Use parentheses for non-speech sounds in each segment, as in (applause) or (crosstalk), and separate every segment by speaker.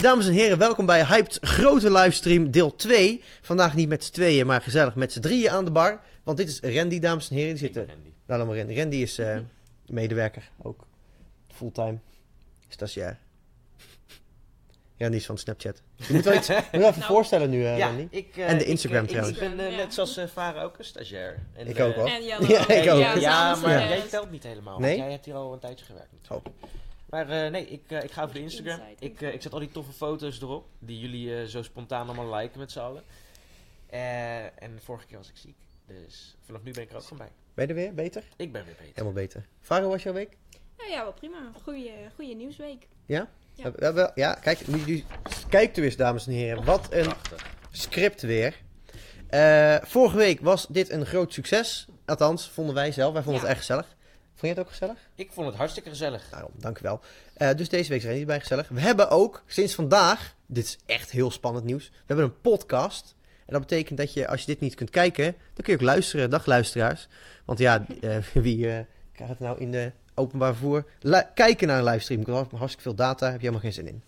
Speaker 1: Dames en heren, welkom bij Hyped Grote Livestream deel 2. Vandaag niet met z'n tweeën, maar gezellig met z'n drieën aan de bar. Want dit is Randy, dames en heren. Die zitten...
Speaker 2: Randy.
Speaker 1: Nou, laat maar Randy. Randy is eh, medewerker, ook fulltime. Stagiair. Randy is van Snapchat. Je moet wel iets moet wel even
Speaker 3: Nou.
Speaker 1: voorstellen nu, eh,
Speaker 2: ja,
Speaker 1: Randy.
Speaker 2: ik, eh,
Speaker 1: En de
Speaker 2: ik,
Speaker 1: Instagram
Speaker 2: eh, ik,
Speaker 1: trouwens.
Speaker 2: Ik ben eh,
Speaker 3: Ja.
Speaker 2: net zoals eh Varen ook een stagiair. En,
Speaker 1: Ik
Speaker 2: eh,
Speaker 1: ook, hoor.
Speaker 3: En
Speaker 1: (laughs)
Speaker 3: Jelle
Speaker 1: Ja, ik ook.
Speaker 2: Ja,
Speaker 1: Ja,
Speaker 2: maar
Speaker 1: samen.
Speaker 2: jij telt niet helemaal.
Speaker 1: Nee? Oh.
Speaker 2: want Jij hebt hier al een tijdje gewerkt. natuurlijk. Maar eh, nee, ik, eh, ik ga over de Instagram.
Speaker 3: Inside,
Speaker 2: Ik, eh, ik zet al die toffe foto's erop. Die jullie eh, zo spontaan allemaal liken met z'n allen. Eh, en vorige keer was ik ziek. Dus vanaf nu ben ik er ook van bij.
Speaker 1: Ben je er weer? Beter?
Speaker 2: Ik ben weer beter.
Speaker 1: Helemaal beter. Faro, was jouw week?
Speaker 3: Nou ja, wel prima. Goeie, goeie nieuwsweek.
Speaker 1: Ja? Eh,
Speaker 3: Ja.
Speaker 1: Wel- wel- wel- Ja, kijk, nu, nu, kijk er eens, dames en heren. Wat een
Speaker 2: Prachtig.
Speaker 1: script weer. Eh, vorige week was dit een groot succes. Althans, vonden wij zelf. Wij vonden
Speaker 3: Ja.
Speaker 1: het erg gezellig. Vond je het ook gezellig?
Speaker 2: Ik vond het hartstikke gezellig.
Speaker 1: Nou, dank u wel. Eh, dus deze week zijn we niet bij gezellig. We hebben ook sinds vandaag, dit is echt heel spannend nieuws, we hebben een podcast. En dat betekent dat je, als je dit niet kunt kijken, dan kun je ook luisteren. Dag luisteraars. Want ja, eh, (laughs) wie eh, krijgt het nou in de openbaar vervoer? Lu- kijken naar een livestream, kost hartstikke veel data, heb je helemaal geen zin in.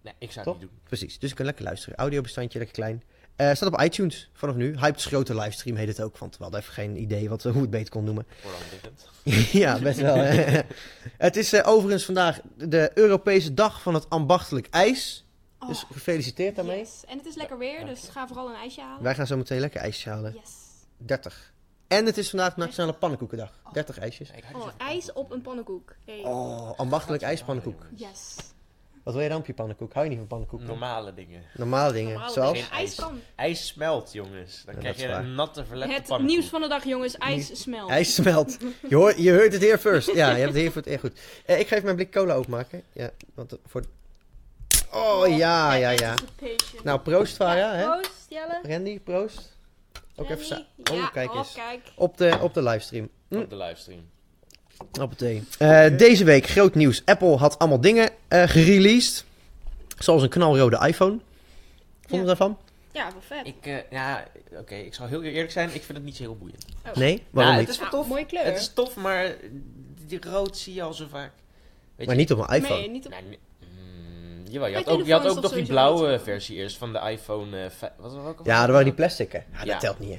Speaker 2: Nee, ik zou
Speaker 1: Toch?
Speaker 2: het niet doen.
Speaker 1: Precies, dus je kunt lekker luisteren. Audiobestandje, lekker klein. Eh, staat op iTunes vanaf nu. Hyped's grote livestream heet het ook, want we hadden even geen idee wat, hoe we het beter kon noemen. (laughs)
Speaker 2: Voor dan dit.
Speaker 1: ja, best wel.
Speaker 3: (laughs)
Speaker 1: hè. het is eh, overigens vandaag de Europese dag van het ambachtelijk ijs.
Speaker 3: Oh,
Speaker 1: Dus gefeliciteerd daarmee.
Speaker 3: yes. En het is lekker weer, dus ga vooral een ijsje halen.
Speaker 1: Wij gaan zo meteen lekker ijsjes halen.
Speaker 3: Yes.
Speaker 1: 30. En het is vandaag Nationale Pannenkoekendag. 30 ijsjes.
Speaker 2: Nee, ik hou niet
Speaker 3: Oh,
Speaker 2: zo van
Speaker 3: ijs op een pannenkoek. Hey.
Speaker 1: Oh, ambachtelijk ijspannenkoek.
Speaker 3: Yes.
Speaker 1: Wat wil je dan op je pannenkoek? Hou je niet van pannenkoek?
Speaker 2: Normale dingen.
Speaker 1: Normale dingen,
Speaker 3: Normaal
Speaker 1: zoals...
Speaker 3: is ijs kan.
Speaker 2: Ijs smelt, jongens. Dan
Speaker 1: Ja,
Speaker 2: krijg
Speaker 1: dat
Speaker 2: je
Speaker 1: is waar.
Speaker 2: een natte, verlepte
Speaker 3: Het
Speaker 2: pannenkoek.
Speaker 3: nieuws van de dag, jongens. Ijs smelt.
Speaker 1: Hij smelt. Je, hoort, je hoort het hier first. Ja, je hebt het hier voor het echt goed. Eh, ik ga even mijn blik cola openmaken. Ja, want eh, voor... Oh, ja, ja, ja.
Speaker 3: Anticipation.
Speaker 1: Nou, proost, Vara, hè?
Speaker 3: Proost, Jelle.
Speaker 1: Randy, proost. Ook even sa-
Speaker 3: Jenny.
Speaker 1: Oh,
Speaker 3: Ja,
Speaker 1: kijk
Speaker 3: oh,
Speaker 1: eens.
Speaker 3: kijk.
Speaker 1: Op de, op de livestream. Hm.
Speaker 2: Op de livestream.
Speaker 1: Appelthee. Deze week groot nieuws. Apple had allemaal dingen eh, gereleased. Zoals een knalrode iPhone. Vond je
Speaker 3: Ja.
Speaker 1: daarvan?
Speaker 3: Ja, wel vet.
Speaker 2: Ik, eh, ja, oké, ik zal heel eerlijk zijn, ik vind het niet zo heel boeiend.
Speaker 1: Nee? Waarom
Speaker 2: Ja,
Speaker 1: niet?
Speaker 2: het is wel
Speaker 3: Ah,
Speaker 2: tof.
Speaker 3: Mooie kleur.
Speaker 2: Het is tof, maar die rood zie je al zo vaak. Weet
Speaker 1: Maar
Speaker 2: je-
Speaker 1: niet op mijn iPhone.
Speaker 3: Nee, niet op...
Speaker 2: Nou, nee, mm, jawel, je
Speaker 3: Bij
Speaker 2: had ook, je had
Speaker 3: telefoons
Speaker 2: ook nog
Speaker 3: toch
Speaker 2: die
Speaker 3: sowieso
Speaker 2: blauwe
Speaker 3: niet.
Speaker 2: versie eerst van de iPhone eh, vij- Wat was dat ook alweer?
Speaker 1: Ja, er waren die plastic, hè? Ja, dat
Speaker 2: Ja.
Speaker 1: telt niet, hè?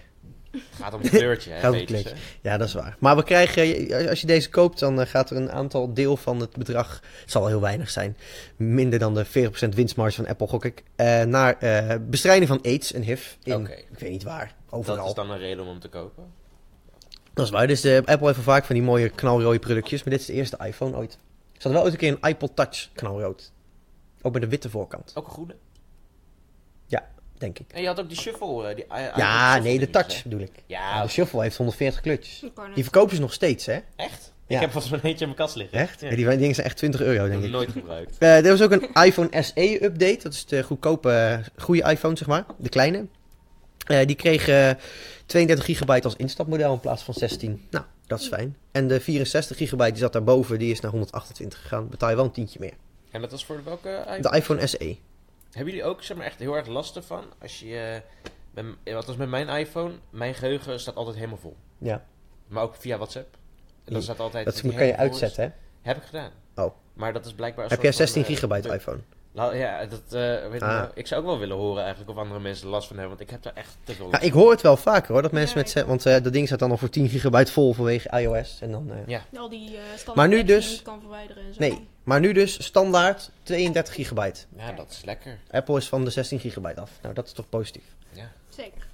Speaker 2: Het gaat om een kleurtje,
Speaker 1: (laughs)
Speaker 2: hè?
Speaker 1: Gaat om het
Speaker 2: beetjes,
Speaker 1: kleurtje. Ja, dat is waar. Maar we krijgen, eh, als je deze koopt, dan eh, gaat er een aantal deel van het bedrag, het zal wel heel weinig zijn, minder dan de 40% winstmarge van Apple, gok ik, eh, naar eh, bestrijding van AIDS en HIV in,
Speaker 2: Oké.
Speaker 1: ik weet niet waar,
Speaker 2: hè?
Speaker 1: overal.
Speaker 2: Dat is dan een reden om hem te kopen.
Speaker 1: waar. Dus eh, Apple heeft wel vaak van die mooie knalrode productjes, maar dit is de eerste iPhone ooit. Ze hadden wel ooit een keer een iPod Touch knalrood. Ook met een witte voorkant,
Speaker 2: Ook een groene.
Speaker 1: denk ik.
Speaker 2: En je had ook die shuffle. eh, die, i- iPhone
Speaker 1: Ja,
Speaker 2: shuffle
Speaker 1: nee, de
Speaker 2: dingetjes,
Speaker 1: Touch dus-
Speaker 2: hè?
Speaker 1: bedoel ik.
Speaker 2: Ja,
Speaker 1: De Shuffle heeft 140 klutjes.
Speaker 3: Ik wou net
Speaker 1: Die verkopen ze nog steeds, hè?
Speaker 2: echt?
Speaker 1: Ja.
Speaker 2: Ik heb volgens mij eentje in mijn kast liggen.
Speaker 1: Echt?
Speaker 2: Ja.
Speaker 1: Die dingen zijn echt 20 euro,
Speaker 2: Ik
Speaker 1: denk
Speaker 2: heb hem
Speaker 1: ik.
Speaker 2: nooit gebruikt.
Speaker 1: Eh, er was ook een (laughs) iPhone SE update. Dat is de goedkope, eh, goede iPhone, zeg maar. De kleine. Eh, die kreeg eh, 32 gigabyte als instapmodel in plaats van 16. Nou, dat is fijn. En de 64 gigabyte die zat daarboven, die is naar 128 gegaan. Betaal je wel een tientje meer.
Speaker 2: En dat was voor welke iPhone?
Speaker 1: De iPhone E. SE.
Speaker 2: Hebben jullie ook zeg maar, echt heel erg last ervan? Als je, eh, met- eh, althans met mijn iPhone, mijn geheugen staat altijd helemaal vol.
Speaker 1: Ja,
Speaker 2: Maar ook via WhatsApp. En dan
Speaker 1: Ja,
Speaker 2: staat altijd...
Speaker 1: dat
Speaker 2: die
Speaker 1: kan je
Speaker 2: hele voice-
Speaker 1: uitzetten, hè?
Speaker 2: Heb ik gedaan.
Speaker 1: Oh.
Speaker 2: Maar dat is blijkbaar... een
Speaker 1: Heb jij
Speaker 2: soort van,
Speaker 1: 16
Speaker 2: eh,
Speaker 1: gigabyte
Speaker 2: druk.
Speaker 1: iPhone?
Speaker 2: Nou, ja, dat, eh, weet ik
Speaker 1: Ah.
Speaker 2: niet. ik zou ook wel willen horen eigenlijk of andere mensen last van hebben. Want ik heb daar echt te veel
Speaker 1: Ja,
Speaker 2: last
Speaker 1: ik hoor het wel vaker, hoor. Dat mensen
Speaker 3: Ja,
Speaker 1: met...
Speaker 3: ik
Speaker 1: ze- Want eh, dat ding staat dan al voor 10 gigabyte vol vanwege iOS. En dan... eh,
Speaker 3: Al die eh standaard
Speaker 1: Maar nu
Speaker 3: apps die je
Speaker 1: dus-
Speaker 3: niet kan verwijderen en zo.
Speaker 1: Nee, maar nu dus standaard 32 gigabyte.
Speaker 2: van. Ja, dat is lekker.
Speaker 1: Apple is van de 16 gigabyte af. Nou, dat is toch positief.
Speaker 2: Ja.
Speaker 3: Zeker.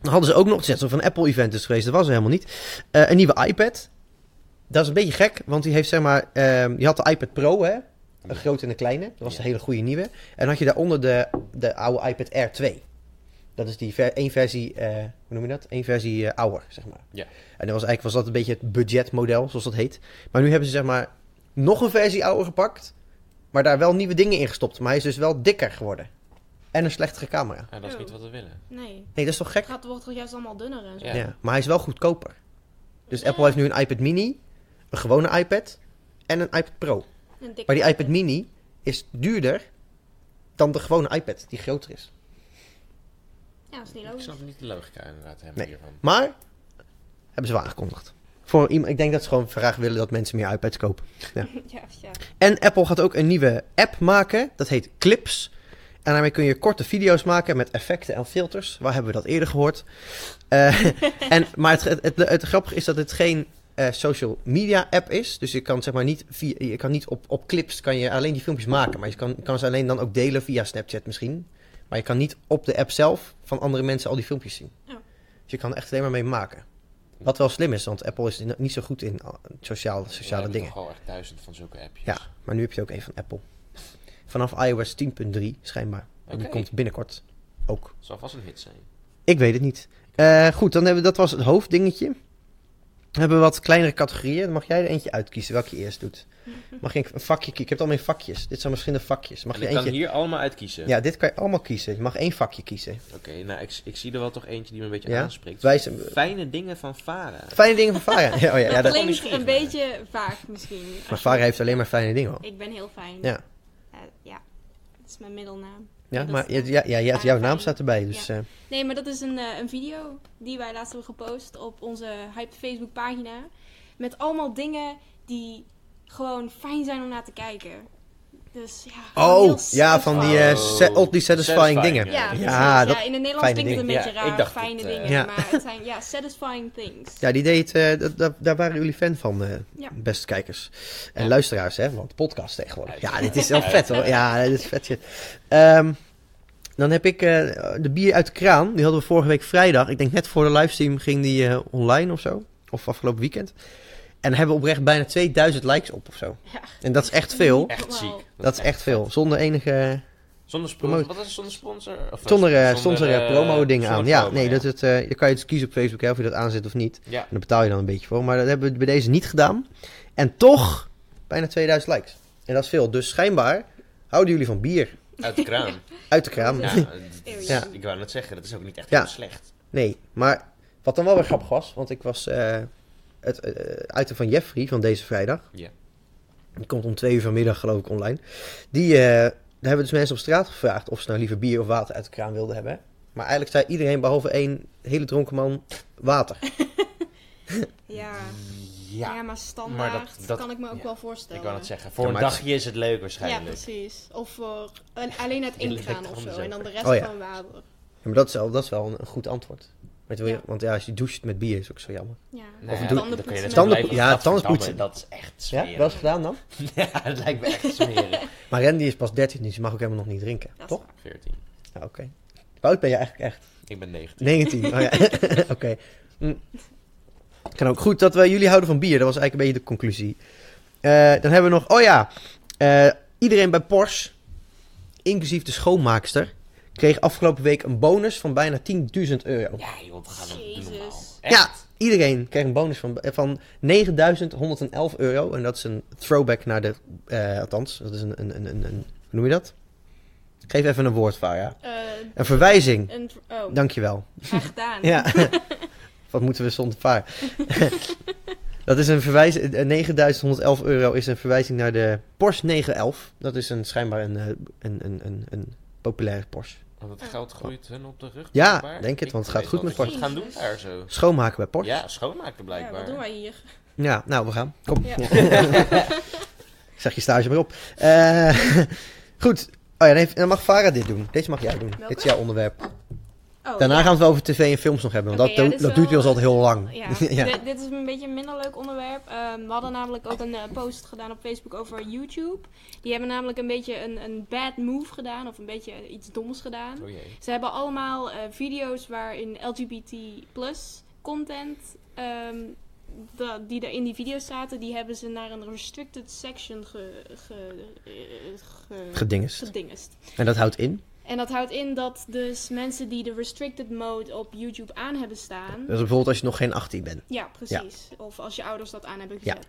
Speaker 1: Dan hadden ze ook nog gezegd dat er een Apple-event is geweest. Dat was er helemaal niet. Eh, een nieuwe iPad. Dat is een beetje gek, want die heeft zeg maar... ehm, je had de iPad Pro, hè? Een grote en een kleine. Dat was de
Speaker 2: Ja.
Speaker 1: hele goede nieuwe. En dan had je daaronder de, de oude iPad Air 2. Dat is die ver, één versie, eh, hoe noem je dat? Eén versie eh, ouder, zeg maar.
Speaker 2: Ja.
Speaker 1: En dat was eigenlijk was dat een beetje het budgetmodel, zoals dat heet. Maar nu hebben ze zeg maar nog een versie ouder gepakt, maar daar wel nieuwe dingen in gestopt. Maar hij is dus wel dikker geworden. En een slechtere camera.
Speaker 2: En dat is
Speaker 3: Oh.
Speaker 2: niet wat we willen.
Speaker 3: Nee.
Speaker 1: Nee, dat is toch gek?
Speaker 3: Het gaat, wordt toch juist allemaal dunner en zo.
Speaker 2: Ja.
Speaker 1: Ja. maar hij is wel goedkoper. Dus Apple heeft nu een iPad mini, een gewone iPad en een iPad Pro.
Speaker 3: Een dikke
Speaker 1: Maar die iPad mini is duurder dan de gewone iPad die groter is.
Speaker 3: Ja, dat is niet
Speaker 2: Ik
Speaker 3: logisch.
Speaker 2: snap niet de logica inderdaad helemaal
Speaker 1: Nee.
Speaker 2: hiervan.
Speaker 1: Maar hebben ze wel aangekondigd. Voor iemand, ik denk dat ze gewoon graag willen dat mensen meer iPads kopen.
Speaker 3: (laughs) ja, ja.
Speaker 1: En Apple gaat ook een nieuwe app maken. Dat heet Clips. En daarmee kun je korte video's maken met effecten en filters. Waar hebben we dat eerder gehoord? Eh, en, maar het, het, het, het grappige is dat het geen eh, social media app is. Dus je kan zeg maar niet, via, je kan niet op, op clips kan je alleen die filmpjes maken. Maar je kan, kan ze alleen dan ook delen via Snapchat misschien. Maar je kan niet op de app zelf van andere mensen al die filmpjes zien.
Speaker 3: Oh.
Speaker 1: Dus je kan er echt alleen maar mee maken. Wat wel slim is, want Apple is niet zo goed in ah, sociaal, sociale dingen.
Speaker 2: Ik al echt duizend van zulke appjes.
Speaker 1: Ja, maar nu heb je ook een van Apple. Vanaf iOS 10.3 schijnbaar. En die
Speaker 2: Oké.
Speaker 1: komt binnenkort ook.
Speaker 2: Zal vast een hit zijn.
Speaker 1: Ik weet het niet. Eh, goed, dan hebben we, dat was het hoofddingetje. We hebben wat kleinere categorieën. Dan mag jij er eentje uitkiezen welke je eerst doet. Mag ik een vakje kiezen? Ik heb het allemaal in vakjes. Dit zijn verschillende vakjes. Mag
Speaker 2: en
Speaker 1: je
Speaker 2: ik kan
Speaker 1: eentje...
Speaker 2: hier allemaal uitkiezen.
Speaker 1: Ja, dit kan je allemaal kiezen. Je mag één vakje kiezen.
Speaker 2: Oké, nou, ik, ik zie er wel toch eentje die me een beetje
Speaker 1: Ja?
Speaker 2: aanspreekt.
Speaker 1: Wij zijn...
Speaker 2: Fijne dingen van Vara.
Speaker 1: Fijne dingen van Vara. Ja, oh ja, ja,
Speaker 3: dat
Speaker 1: dat...
Speaker 2: kon
Speaker 3: klinkt
Speaker 2: misschien
Speaker 3: een
Speaker 2: gebeuren.
Speaker 3: beetje vaag misschien. als
Speaker 1: Maar
Speaker 3: je-
Speaker 1: Vara heeft alleen maar fijne dingen. hoor.
Speaker 3: Ik ben heel fijn.
Speaker 1: Ja.
Speaker 3: Eh, ja. Dat is mijn middelnaam.
Speaker 1: Ja,
Speaker 3: dat is-
Speaker 1: maar ja, ja, ja, ja, jouw naam staat erbij. Dus eh,
Speaker 3: Nee, maar dat is een, eh, een video die wij laatst hebben gepost op onze Hype Facebook pagina. Met allemaal dingen die gewoon fijn zijn om naar te kijken. Dus ja. gewoon heel
Speaker 1: Oh, ja, van die eh,
Speaker 3: satisfying.
Speaker 2: Oh.
Speaker 1: sa- oddly satisfying
Speaker 2: Satisfying,
Speaker 1: dingen.
Speaker 2: eh,
Speaker 3: ja, precies.
Speaker 1: ja,
Speaker 3: ja,
Speaker 1: dat-
Speaker 3: in het Nederlands
Speaker 1: fijne
Speaker 3: klinkt het een
Speaker 2: dingen.
Speaker 3: beetje
Speaker 2: Ja, ik
Speaker 3: raar,
Speaker 2: dacht
Speaker 3: fijne
Speaker 2: het, eh,
Speaker 3: dingen.
Speaker 1: Ja.
Speaker 3: Maar het zijn ja, satisfying things.
Speaker 1: Ja, die deed, eh, dat, dat- daar waren jullie fan van, eh,
Speaker 3: Ja.
Speaker 1: beste kijkers. En
Speaker 2: Ja.
Speaker 1: luisteraars, hè, want podcast tegenwoordig. Ja,
Speaker 2: Uiteraard.
Speaker 1: dit (laughs) is wel vet hoor. Ja, dit is vet shit. Ehm, dan heb ik eh, de bier uit de kraan. Die hadden we vorige week vrijdag. Ik denk net voor de livestream ging die eh, online of zo. Of afgelopen weekend. En hebben we oprecht bijna 2000 likes op of zo.
Speaker 3: Ja.
Speaker 1: En dat is echt veel.
Speaker 2: Echt
Speaker 3: Wow.
Speaker 2: ziek.
Speaker 1: Dat is echt veel. Zonder enige...
Speaker 2: Zonder
Speaker 1: Promote.
Speaker 2: sponsor. Wat is het zonder sponsor? Of, eh,
Speaker 1: Zonder, eh, zonder eh,
Speaker 2: eh,
Speaker 1: promo-dingen aan.
Speaker 2: zonder
Speaker 1: Ja,
Speaker 2: promo,
Speaker 1: nee, dat het, eh, je kan je dus kiezen op Facebook hè, of je dat aanzet of niet.
Speaker 2: Ja.
Speaker 1: En daar betaal je dan een beetje voor. Maar dat hebben we bij deze niet gedaan. En toch bijna 2000 likes. En dat is veel. Dus schijnbaar houden jullie van bier.
Speaker 2: Uit de
Speaker 1: (laughs)
Speaker 2: kraan.
Speaker 1: Uit de kraam.
Speaker 2: Ja, dat is-
Speaker 3: Ja.
Speaker 2: Ik wou net zeggen, dat is ook niet echt
Speaker 1: Ja.
Speaker 2: heel slecht.
Speaker 1: (laughs) Nee, maar wat dan wel weer grappig was. Want ik was eh, het eh item van Jeffrey van deze vrijdag.
Speaker 2: Ja.
Speaker 1: Die komt om twee uur vanmiddag geloof ik online. Die, eh, daar hebben dus mensen op straat gevraagd of ze nou liever bier of water uit de kraan wilden hebben. Maar eigenlijk zei iedereen behalve één hele dronken man water.
Speaker 3: Ja. Ja,
Speaker 2: Ja.
Speaker 3: maar standaard
Speaker 2: dat-
Speaker 3: kan ik me ook
Speaker 2: ja.
Speaker 3: wel voorstellen.
Speaker 2: Ik wou net zeggen, voor
Speaker 1: Ja,
Speaker 2: een
Speaker 1: maar het-
Speaker 2: dagje is het leuk
Speaker 3: Ja,
Speaker 2: waarschijnlijk.
Speaker 3: precies. Of voor al- alleen uit
Speaker 2: Jullie
Speaker 3: ingaan
Speaker 2: denken
Speaker 3: of zo.
Speaker 2: anders
Speaker 3: En dan de rest
Speaker 1: Oh ja.
Speaker 3: van water.
Speaker 1: Ja, maar dat is, wel- dat is wel een, een goed antwoord. Maar toen wil je-
Speaker 3: Ja.
Speaker 1: Want ja, als je doucht met bier is ook zo jammer.
Speaker 3: Ja.
Speaker 2: Nou
Speaker 1: Of
Speaker 2: ja,
Speaker 1: doe-
Speaker 2: dan kun je net
Speaker 1: Tanden-
Speaker 2: blijven
Speaker 1: ja,
Speaker 2: gadverdamme,
Speaker 1: tandenpoetsen.
Speaker 2: Dat is echt
Speaker 1: Ja,
Speaker 2: smerig.
Speaker 1: wel eens gedaan dan?
Speaker 2: (laughs) Ja, dat lijkt me
Speaker 1: (laughs)
Speaker 2: echt smerig.
Speaker 1: Maar Randy is pas 13, dus je mag ook helemaal nog niet drinken,
Speaker 3: Dat is
Speaker 1: toch?
Speaker 3: waar.
Speaker 2: 14.
Speaker 1: Ja, oké. Hoe oud ben je eigenlijk echt?
Speaker 2: Ik ben 19.
Speaker 1: 19. Oh,
Speaker 3: (laughs)
Speaker 1: ja. oké. Hm. Kan ook goed dat we jullie houden van bier. Dat was eigenlijk een beetje de conclusie. Eh, dan hebben we nog, oh ja, eh, iedereen bij Porsche, inclusief de schoonmaakster, kreeg afgelopen week een bonus van bijna 10.000 euro.
Speaker 2: Ja, joh, we gaan het
Speaker 3: Jezus.
Speaker 2: normaal.
Speaker 1: Ja,
Speaker 2: Echt?
Speaker 1: iedereen kreeg een bonus van, van 9.111 euro. En dat is een throwback naar de. eh, althans, dat is een, een, een, een, een- Hoe noem je dat? Geef even een woord, Vara.
Speaker 3: Eh,
Speaker 1: Een verwijzing.
Speaker 3: een, oh,
Speaker 1: Dankjewel.
Speaker 3: graag gedaan.
Speaker 1: Ja. (laughs) Wat moeten we zonder Vara? (laughs) dat is een verwijzing. eh, 9.111 euro is een verwijzing naar de Porsche 911. Dat is een, schijnbaar een, eh, een, een, een, een populaire Porsche.
Speaker 2: Want het geld groeit hun op de rug.
Speaker 1: Ja,
Speaker 2: blijkbaar.
Speaker 1: denk het,
Speaker 2: Ik
Speaker 1: want het gaat
Speaker 2: weet
Speaker 1: goed
Speaker 2: wel
Speaker 1: met
Speaker 2: wat je
Speaker 3: Porsche.
Speaker 2: gaan doen daar zo.
Speaker 1: Schoonmaken bij Porsche.
Speaker 2: Ja, schoonmaken
Speaker 3: Ja, Eh, wat
Speaker 2: blijkbaar.
Speaker 3: doen wij hier?
Speaker 1: Ja, nou, we gaan. Kom.
Speaker 3: Ja.
Speaker 1: (laughs) Zeg je stage maar op. Eh, (laughs) goed. Oh ja, dan, heeft- dan mag Farah dit doen. Deze mag jij doen.
Speaker 3: Welke?
Speaker 1: Dit is jouw onderwerp.
Speaker 3: Oh,
Speaker 1: Daarna
Speaker 3: ja.
Speaker 1: gaan we het wel over tv en films nog hebben. Want
Speaker 3: Oké,
Speaker 1: dat,
Speaker 3: ja,
Speaker 1: dat,
Speaker 3: dit is
Speaker 1: duurt
Speaker 3: wel- eh,
Speaker 1: wel altijd heel lang.
Speaker 3: Ja,
Speaker 1: (laughs) Ja.
Speaker 3: Dit, dit is een beetje een minder leuk onderwerp. Ehm, we hadden namelijk ook een eh, post gedaan op Facebook over YouTube. Die hebben namelijk een beetje een, een bad move gedaan, of een beetje iets doms gedaan.
Speaker 2: Oh jee.
Speaker 3: Ze hebben allemaal eh, video's waarin LGBT plus content ehm, da- die er in die video's zaten, die hebben ze naar een restricted section ge, ge, eh, ge-
Speaker 1: Gedingest.
Speaker 3: gedingest.
Speaker 1: En dat houdt in.
Speaker 3: En dat houdt in dat dus mensen die de restricted mode op YouTube aan hebben staan,
Speaker 1: Dat is bijvoorbeeld als je nog geen 18 bent.
Speaker 3: ja, precies. Of als je ouders dat aan hebben gezet.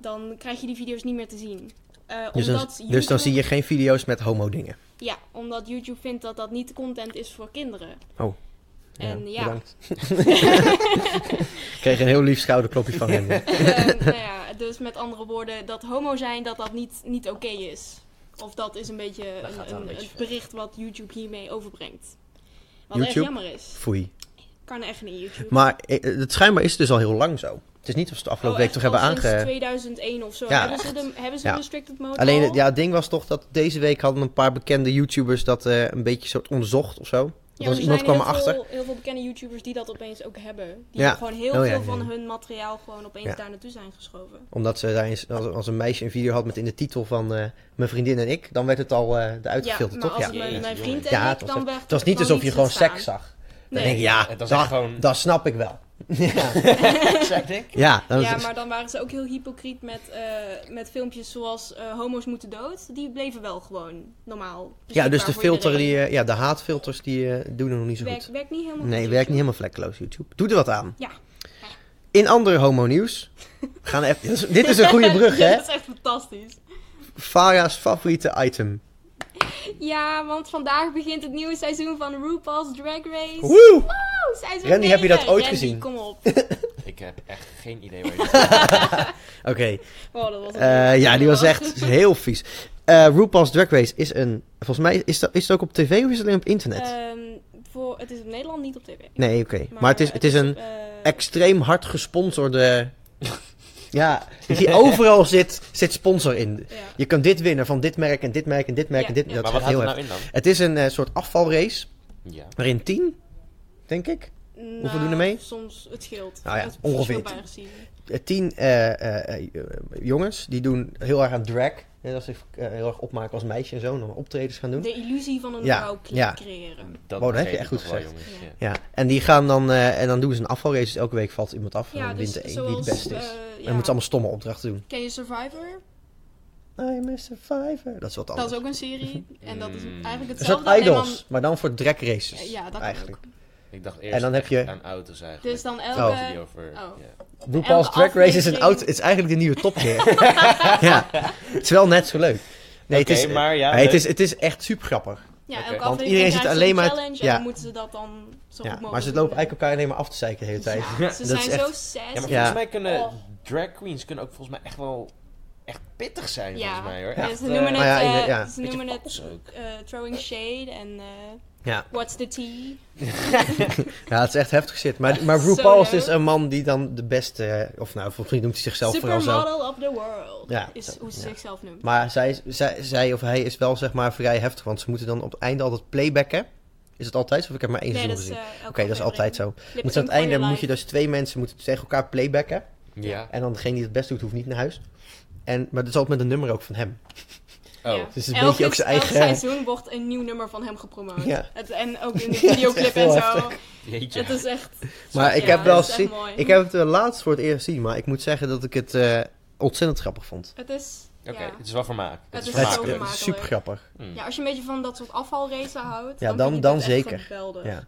Speaker 3: Dan krijg je die video's niet meer te zien. Eh,
Speaker 1: Dus dan,
Speaker 3: omdat
Speaker 1: dus dan
Speaker 3: YouTube-
Speaker 1: zie je geen video's met homo-dingen.
Speaker 3: Ja, omdat YouTube vindt dat dat niet content is voor kinderen. En ja.
Speaker 1: Oh. Bedankt. (laughs) Ik kreeg een heel lief schouderklopje van
Speaker 3: (laughs)
Speaker 1: hem. (laughs)
Speaker 3: Ehm, nou ja, dus met andere woorden, dat homo zijn, dat dat niet, niet oké is. Of dat is een beetje
Speaker 2: Dat gaat
Speaker 3: een,
Speaker 2: wel een
Speaker 3: een-
Speaker 2: beetje
Speaker 3: het
Speaker 2: ver.
Speaker 3: bericht wat YouTube hiermee overbrengt. Wat echt
Speaker 1: YouTube?
Speaker 3: jammer is.
Speaker 1: Foei.
Speaker 3: Kan echt niet, YouTube.
Speaker 1: Maar eh, het schijnbaar is het dus al heel lang zo. Het is niet of ze het afgelopen
Speaker 3: Oh,
Speaker 1: week
Speaker 3: echt
Speaker 1: toch hebben
Speaker 3: al sinds
Speaker 1: aange...
Speaker 3: 2001 of zo.
Speaker 1: Ja,
Speaker 3: hebben, ze
Speaker 1: echt.
Speaker 3: de, hebben ze
Speaker 1: Ja.
Speaker 3: een restricted mode
Speaker 1: Alleen,
Speaker 3: al?
Speaker 1: het- ja, het ding was toch dat deze week hadden een paar bekende YouTubers dat eh, een beetje soort onderzocht of zo.
Speaker 3: Ja,
Speaker 1: was-
Speaker 3: maar er
Speaker 1: iemand
Speaker 3: zijn
Speaker 1: kwam
Speaker 3: heel
Speaker 1: erachter.
Speaker 3: Veel, heel veel bekende YouTubers die dat opeens ook hebben. Die
Speaker 1: Ja.
Speaker 3: gewoon heel
Speaker 1: Oh, ja,
Speaker 3: veel
Speaker 1: ja,
Speaker 3: van
Speaker 1: ja.
Speaker 3: hun materiaal gewoon opeens
Speaker 1: Ja.
Speaker 3: daar naartoe zijn geschoven.
Speaker 1: Omdat ze daar eens, als, als een meisje een video had met in de titel van eh, mijn vriendin en ik, dan werd het al eh eruit
Speaker 3: ja,
Speaker 1: gefilterd,
Speaker 3: maar
Speaker 1: toch?
Speaker 3: als
Speaker 1: Ja.
Speaker 3: het mijn,
Speaker 2: Jezus,
Speaker 3: mijn vriend en
Speaker 2: jongen.
Speaker 1: Ja,
Speaker 3: ik,
Speaker 1: het was
Speaker 3: dan werd
Speaker 1: Het was niet alsof je gewoon seks
Speaker 3: zag.
Speaker 1: zag. Dan
Speaker 3: Nee.
Speaker 1: denk je, ja,
Speaker 2: Het
Speaker 1: dat,
Speaker 2: was echt gewoon-
Speaker 1: dat snap ik wel. ja.
Speaker 2: (laughs) Zeg ik.
Speaker 1: ja, dan
Speaker 3: Ja, maar dan waren ze ook heel hypocriet met, eh, met filmpjes zoals eh, homo's moeten dood. Die bleven wel gewoon normaal.
Speaker 1: ja, dus
Speaker 3: beschikbaar
Speaker 1: de
Speaker 3: voor
Speaker 1: filter, die,
Speaker 3: iedereen.
Speaker 1: eh, ja, de haatfilters, die eh, doen er nog niet zo
Speaker 3: werkt,
Speaker 1: goed.
Speaker 3: werkt niet helemaal
Speaker 1: Nee,
Speaker 3: goed.
Speaker 1: werkt
Speaker 3: (laughs)
Speaker 1: niet helemaal vlekkeloos, YouTube. Doe er wat aan.
Speaker 3: Ja.
Speaker 1: In andere
Speaker 3: (laughs)
Speaker 1: homo-nieuws. we Gaan even, dit is- dit is een goede brug, hè?
Speaker 3: Dat is echt fantastisch.
Speaker 1: Farah's favoriete item.
Speaker 3: Ja, want vandaag begint het nieuwe seizoen van RuPaul's Drag Race.
Speaker 1: Woe!
Speaker 3: Oh, seizoen
Speaker 1: Randy, heb je dat
Speaker 3: negen.
Speaker 1: ooit
Speaker 3: Randy,
Speaker 1: gezien?
Speaker 3: kom
Speaker 1: (laughs)
Speaker 3: op. Oh,
Speaker 2: Ik heb echt geen idee waar je dit over
Speaker 1: Oké,
Speaker 3: Wow, dat was een
Speaker 1: eh,
Speaker 3: leuke
Speaker 1: ja, die was
Speaker 3: vraag.
Speaker 1: echt heel vies. Eh, RuPaul's Drag Race is een... Volgens mij is dat, is het ook op tv of is het alleen op internet?
Speaker 3: Ehm, voor, het is in Nederland niet op tv.
Speaker 1: nee, oké. Eh, Maar, het, is, het is een
Speaker 3: eh,
Speaker 1: extreem hard (laughs) gesponsorde... ja, je ziet overal zit, zit sponsor in.
Speaker 3: ja.
Speaker 1: Je kan dit winnen van dit merk en dit merk en dit merk
Speaker 3: Ja,
Speaker 1: en dit
Speaker 3: ja.
Speaker 1: merk.
Speaker 2: Maar
Speaker 1: Dat
Speaker 2: wat
Speaker 1: gaat
Speaker 2: houdt
Speaker 1: heel
Speaker 2: het
Speaker 1: erg.
Speaker 2: nou in dan?
Speaker 1: Het is een eh, soort afvalrace
Speaker 2: Ja.
Speaker 1: waarin tien, denk ik,
Speaker 3: Nou,
Speaker 1: doen er mee?
Speaker 3: Soms het scheelt.
Speaker 1: Nou ja,
Speaker 3: Het
Speaker 1: ongeveer.
Speaker 3: scheelt bijna gezien.
Speaker 1: eh, tien eh, eh, eh, jongens die doen heel erg aan drag. Hè, dat ze zich eh, heel erg opmaken als meisje en zo, en dan optredens gaan doen.
Speaker 3: De illusie van een
Speaker 1: Ja,
Speaker 3: vrouw cre-
Speaker 1: ja.
Speaker 3: creëren.
Speaker 2: Dat
Speaker 1: Oh, dat heb je
Speaker 2: begreep
Speaker 1: echt
Speaker 2: ik
Speaker 1: goed
Speaker 2: nog wel,
Speaker 1: gezegd.
Speaker 2: jongens,
Speaker 3: Ja.
Speaker 2: ja.
Speaker 1: Ja, en die gaan dan, eh, en dan doen ze een afvalrace. Dus elke week valt iemand af en
Speaker 3: Ja,
Speaker 1: dan
Speaker 3: dus
Speaker 1: wint de een
Speaker 3: zoals...
Speaker 1: die het beste is.
Speaker 3: eh,
Speaker 1: en dan
Speaker 3: ja.
Speaker 1: moeten ze allemaal stomme opdrachten doen.
Speaker 3: Ken je Survivor?
Speaker 1: I'm a survivor. Dat is wat anders.
Speaker 3: Dat is ook een serie.
Speaker 1: (laughs)
Speaker 3: En dat is
Speaker 2: Mm.
Speaker 3: eigenlijk
Speaker 1: een
Speaker 3: hetzelfde.
Speaker 1: soort
Speaker 3: alleen
Speaker 1: idols, maar dan voor drag races.
Speaker 3: dan- Ja, dat kan
Speaker 1: eigenlijk.
Speaker 2: Ik dacht eerst
Speaker 1: En dan heb je
Speaker 2: aan auto's
Speaker 3: ook.
Speaker 2: eigenlijk.
Speaker 3: Dus dan
Speaker 1: Oh.
Speaker 3: elke...
Speaker 2: Die over,
Speaker 3: oh.
Speaker 2: ja.
Speaker 1: RuPaul's
Speaker 3: elke
Speaker 1: Drag Race is, een
Speaker 3: aflevering-
Speaker 1: oud, is eigenlijk de nieuwe
Speaker 3: (laughs)
Speaker 1: topkeer. (laughs) ja, het is wel net zo leuk. Nee,
Speaker 2: Oké,
Speaker 1: het, is,
Speaker 2: maar ja,
Speaker 1: nee, het,
Speaker 2: leuk.
Speaker 1: is, het is echt super grappig.
Speaker 3: Ja,
Speaker 2: Oké.
Speaker 3: elke
Speaker 2: Want
Speaker 3: aflevering
Speaker 1: iedereen
Speaker 3: krijgt
Speaker 1: zit
Speaker 3: ze
Speaker 1: alleen
Speaker 3: een
Speaker 1: maar-
Speaker 3: challenge
Speaker 1: ja.
Speaker 3: en dan moeten ze dat dan zo
Speaker 1: Ja,
Speaker 3: goed mogelijk
Speaker 1: maar ze
Speaker 3: doen.
Speaker 1: lopen eigenlijk elkaar alleen maar af te zeiken de hele tijd.
Speaker 3: Ja, ze
Speaker 1: Dat
Speaker 3: zijn
Speaker 1: is
Speaker 3: zo
Speaker 1: echt-
Speaker 3: zes.
Speaker 2: Ja,
Speaker 1: Ja.
Speaker 2: maar volgens mij kunnen
Speaker 3: Oh.
Speaker 2: drag queens kunnen ook volgens mij echt wel echt pittig zijn,
Speaker 3: Ja.
Speaker 2: volgens mij hoor.
Speaker 3: Ja,
Speaker 2: Echt,
Speaker 3: ze noemen
Speaker 1: eh,
Speaker 3: het,
Speaker 1: maar ja,
Speaker 3: eh,
Speaker 1: inderdaad, ja.
Speaker 3: ze
Speaker 2: Beetje
Speaker 3: noemen
Speaker 2: vals
Speaker 3: het
Speaker 2: ook.
Speaker 3: eh, throwing shade en eh,
Speaker 1: Ja.
Speaker 3: what's the tea.
Speaker 1: Ja, het is echt heftig shit. Maar, maar
Speaker 3: Zo
Speaker 1: RuPaul is
Speaker 3: leuk.
Speaker 1: dus een man die dan de beste... eh, Of nou, volgens mij noemt hij zichzelf vooral zelf.
Speaker 3: Supermodel of the world
Speaker 1: Ja,
Speaker 3: is
Speaker 1: dat-
Speaker 3: hoe ze
Speaker 1: ja.
Speaker 3: zichzelf noemt.
Speaker 1: Maar zij, zij, zij of hij is wel zeg maar vrij heftig. Want ze moeten dan op het einde altijd playbacken. Is het altijd zo? Of ik heb maar één seizoen gezien.
Speaker 3: eh,
Speaker 1: Oké, dat is altijd zo. Moet ze aan het einde moet je dus twee mensen moeten tegen elkaar playbacken.
Speaker 2: Ja.
Speaker 1: En dan degene die het best doet, hoeft niet naar huis. En, maar dat is altijd met een nummer ook van hem.
Speaker 2: Oh.
Speaker 1: dus het is een beetje ook zijn eigen-
Speaker 3: Elk seizoen wordt een nieuw nummer van hem gepromoot.
Speaker 1: Ja.
Speaker 3: Het, en ook
Speaker 1: (laughs)
Speaker 3: in de videoclip en
Speaker 1: heel
Speaker 3: zo.
Speaker 2: Jeetje.
Speaker 3: Het is echt...
Speaker 1: Maar ik
Speaker 3: ja,
Speaker 1: heb wel
Speaker 3: dat is echt
Speaker 1: gezien.
Speaker 3: mooi.
Speaker 1: Ik heb het eh, laatst voor het eerst gezien. Maar ik moet zeggen dat ik het eh, ontzettend grappig vond.
Speaker 3: Het is...
Speaker 2: Oké, dus-
Speaker 3: Ja.
Speaker 2: het is wel vermaak. Het, is
Speaker 3: is
Speaker 1: Het
Speaker 3: wel
Speaker 1: is
Speaker 2: vermakelijk.
Speaker 1: eh,
Speaker 3: vermakelijk.
Speaker 1: super grappig.
Speaker 2: Hmm.
Speaker 3: ja, als je een beetje van dat soort afvalracen houdt,
Speaker 1: Ja,
Speaker 3: dan,
Speaker 1: dan-
Speaker 3: vind ik
Speaker 1: dan
Speaker 3: het
Speaker 1: zeker.
Speaker 3: Echt geweldig.
Speaker 1: Ja.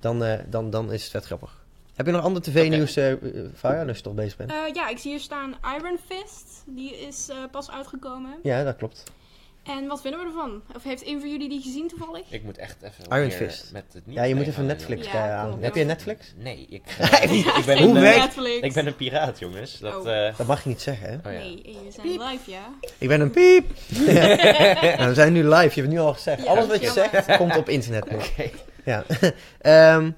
Speaker 1: Dan, eh, dan, dan is het vet grappig. Heb je nog ander tv-nieuws, eh eh, Farah, als je toch bezig bent?
Speaker 3: Eh, ja, ik zie hier staan Iron Fist. Die is eh, pas uitgekomen.
Speaker 1: Ja, dat klopt.
Speaker 3: En wat vinden we ervan? Of heeft een van jullie die gezien toevallig?
Speaker 2: Ik moet echt even
Speaker 1: Iron
Speaker 2: meer
Speaker 1: Fist.
Speaker 2: met het niet
Speaker 1: Ja, je moet
Speaker 2: mee
Speaker 1: even
Speaker 2: gaan,
Speaker 1: Netflix
Speaker 3: Ja,
Speaker 1: eh,
Speaker 3: klopt.
Speaker 1: aan.
Speaker 3: Ja.
Speaker 1: Heb je Netflix?
Speaker 2: jongen. Nee,
Speaker 1: (laughs)
Speaker 2: ik, eh, ik,
Speaker 3: Ik
Speaker 2: ben
Speaker 1: Hoe
Speaker 2: een,
Speaker 1: werkt-
Speaker 3: Netflix.
Speaker 2: ik ben een piraat, jongens. Dat,
Speaker 3: Oh.
Speaker 2: eh,
Speaker 1: Dat mag je niet zeggen, hè?
Speaker 2: oh ja.
Speaker 3: Nee, eh, we zijn
Speaker 1: Piep.
Speaker 3: live, ja.
Speaker 1: Ik ben een piep. (laughs) Nou, we zijn nu live, je hebt het nu al gezegd.
Speaker 3: Ja,
Speaker 1: Alles wat je
Speaker 3: jammer.
Speaker 1: zegt komt op internet.
Speaker 2: Oké.
Speaker 3: (laughs)
Speaker 1: nog. Ja. (laughs) Ehm,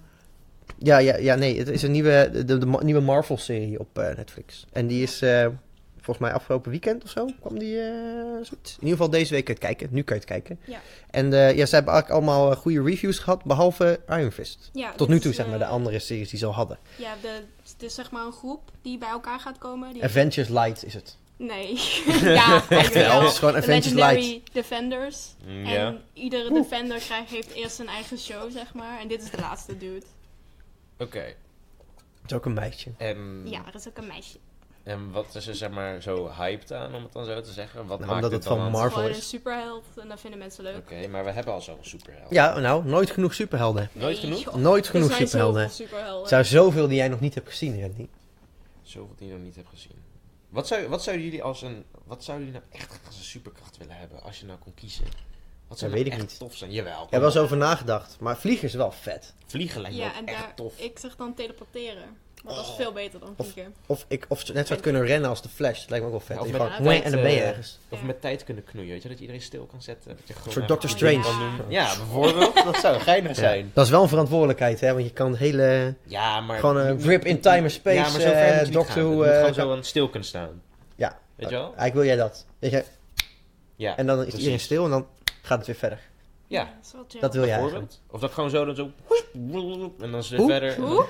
Speaker 1: ja, ja, ja, nee, het is een nieuwe, de, de ma- nieuwe Marvel-serie op eh, Netflix. En die is eh, volgens mij afgelopen weekend of zo kwam die. eh, zoiets. in ieder geval deze week kan je het kijken. Nu kan je het kijken.
Speaker 3: Ja.
Speaker 1: En eh, ja, ze hebben eigenlijk allemaal eh, goede reviews gehad, behalve Iron Fist.
Speaker 3: ja
Speaker 1: Tot
Speaker 3: dit
Speaker 1: nu
Speaker 3: is,
Speaker 1: toe, zeg maar, de
Speaker 3: eh,
Speaker 1: andere series die ze al hadden.
Speaker 3: Ja, de, het is zeg maar een groep die bij elkaar gaat komen. Die...
Speaker 1: Avengers Light is het.
Speaker 3: nee. (laughs)
Speaker 2: (laughs)
Speaker 3: ja, eigenlijk
Speaker 1: Ja,
Speaker 3: wel.
Speaker 1: het is gewoon
Speaker 3: De
Speaker 1: Avengers
Speaker 3: Legendary
Speaker 1: Light.
Speaker 3: Defenders.
Speaker 2: Mm, Ja.
Speaker 3: En iedere
Speaker 1: Oeh.
Speaker 3: Defender krijgt, heeft eerst zijn eigen show, zeg maar. En dit is de laatste dude.
Speaker 2: Oké.
Speaker 1: Het is ook een meisje.
Speaker 2: En,
Speaker 3: Ja, er is ook een meisje.
Speaker 2: en ehm, wat is er zeg maar zo hyped aan, om het dan zo te zeggen? Wat
Speaker 1: Nou,
Speaker 2: maakt
Speaker 1: omdat
Speaker 2: het
Speaker 1: het van
Speaker 2: dan
Speaker 1: Marvel
Speaker 3: Gewoon
Speaker 1: is-
Speaker 3: een superheld en dat vinden mensen leuk.
Speaker 2: Oké, maar we hebben al zo'n superheld.
Speaker 1: Ja, nou, nooit genoeg superhelden.
Speaker 2: Nooit
Speaker 3: Nee,
Speaker 2: genoeg?
Speaker 3: joh.
Speaker 1: Nooit
Speaker 3: Er
Speaker 1: genoeg
Speaker 3: zijn
Speaker 1: superhelden.
Speaker 3: zoveel superhelden.
Speaker 1: Er zijn zoveel die jij nog niet hebt gezien, Randy.
Speaker 2: Zoveel die je nog niet hebt gezien. Wat, zou, wat zouden jullie als een. Wat zouden jullie nou echt graag als een superkracht willen hebben? Als je nou kon kiezen. Wat zou
Speaker 1: Dat
Speaker 2: nou
Speaker 1: weet ik
Speaker 2: echt
Speaker 1: niet.
Speaker 2: tof zijn? Jawel.
Speaker 1: Ik heb wel eens over nagedacht, maar vliegen is wel vet.
Speaker 2: Vliegen lijkt me
Speaker 3: Ja,
Speaker 2: ook
Speaker 3: en
Speaker 2: echt
Speaker 3: daar,
Speaker 2: tof. Oh.
Speaker 3: ik zeg dan teleporteren. Maar dat is veel beter dan kieken.
Speaker 1: Of, ik, of ze net zou kunnen rennen als de Flash. Dat lijkt me ook wel vet.
Speaker 2: Ja, of
Speaker 1: En
Speaker 2: met
Speaker 1: gewoon,
Speaker 2: tijd,
Speaker 1: en dan ben je
Speaker 2: eh,
Speaker 1: ergens.
Speaker 2: Of
Speaker 3: Ja.
Speaker 2: met tijd kunnen knoeien, weet je? Dat je iedereen stil kan zetten. Dat je
Speaker 1: Een
Speaker 2: gewoon
Speaker 1: soort
Speaker 2: even-
Speaker 1: Doctor
Speaker 3: Oh,
Speaker 1: Strange.
Speaker 3: ja.
Speaker 2: Ja, bijvoorbeeld. dat
Speaker 1: (laughs)
Speaker 2: zou geinig zijn.
Speaker 1: Dat is wel een verantwoordelijkheid, hè? Want je kan hele...
Speaker 2: Ja, maar...
Speaker 1: Gewoon een grip in time and space,
Speaker 2: Ja, maar zo ver
Speaker 1: eh,
Speaker 2: moet je niet
Speaker 1: Doctor
Speaker 2: gaan. Het
Speaker 1: Who,
Speaker 2: moet
Speaker 1: eh,
Speaker 2: gewoon
Speaker 1: kan-
Speaker 2: zo aan stil kunnen staan.
Speaker 1: Ja.
Speaker 2: Weet je wel?
Speaker 1: Eigenlijk wil jij dat. Weet je,
Speaker 2: Ja.
Speaker 1: en dan is
Speaker 2: precies.
Speaker 1: iedereen stil en dan gaat het weer verder.
Speaker 2: Ja,
Speaker 3: dat is wel chill.
Speaker 1: Dat wil jij eigenlijk.
Speaker 2: bijvoorbeeld. Of dat gewoon zo, dan zo... En dan is het
Speaker 1: Hoe?
Speaker 2: verder.
Speaker 3: Hoe?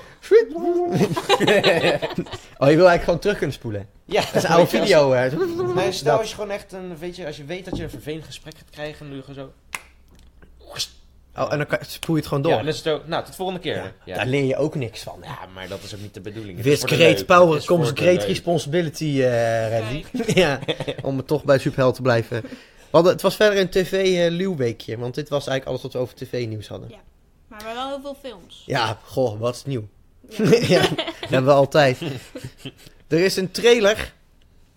Speaker 1: (laughs) oh, je wil eigenlijk gewoon terug kunnen spoelen.
Speaker 2: (laughs) Ja,
Speaker 1: Dat is een oude video. hè.
Speaker 2: Maar
Speaker 1: (laughs)
Speaker 2: stel
Speaker 1: Dat-
Speaker 2: als je gewoon echt een, weet je, als je weet dat je een vervelend gesprek gaat krijgen, dan doe je gewoon zo.
Speaker 1: Oh, en dan kan- spoel je het gewoon door.
Speaker 2: Ja, en dan is het zo, nou, tot volgende keer.
Speaker 1: Ja,
Speaker 2: Ja, ja.
Speaker 1: Daar leer je ook niks van. hè.
Speaker 2: maar dat is ook niet de bedoeling. Het is
Speaker 1: With
Speaker 2: voor de
Speaker 1: great
Speaker 2: leuk. Het
Speaker 1: power
Speaker 2: is voor
Speaker 1: comes
Speaker 2: de
Speaker 1: great
Speaker 2: leuk.
Speaker 1: responsibility, eh Randy. (laughs) ja, om toch bij Superheld te blijven. We hadden- het was verder een tv-luwweekje, want dit was eigenlijk alles wat we over tv-nieuws hadden.
Speaker 3: Ja. Maar we hebben wel heel veel films.
Speaker 1: Ja, goh, wat is nieuw?
Speaker 3: Ja.
Speaker 1: (laughs) ja,
Speaker 3: (laughs)
Speaker 1: dat hebben we altijd. er is een trailer.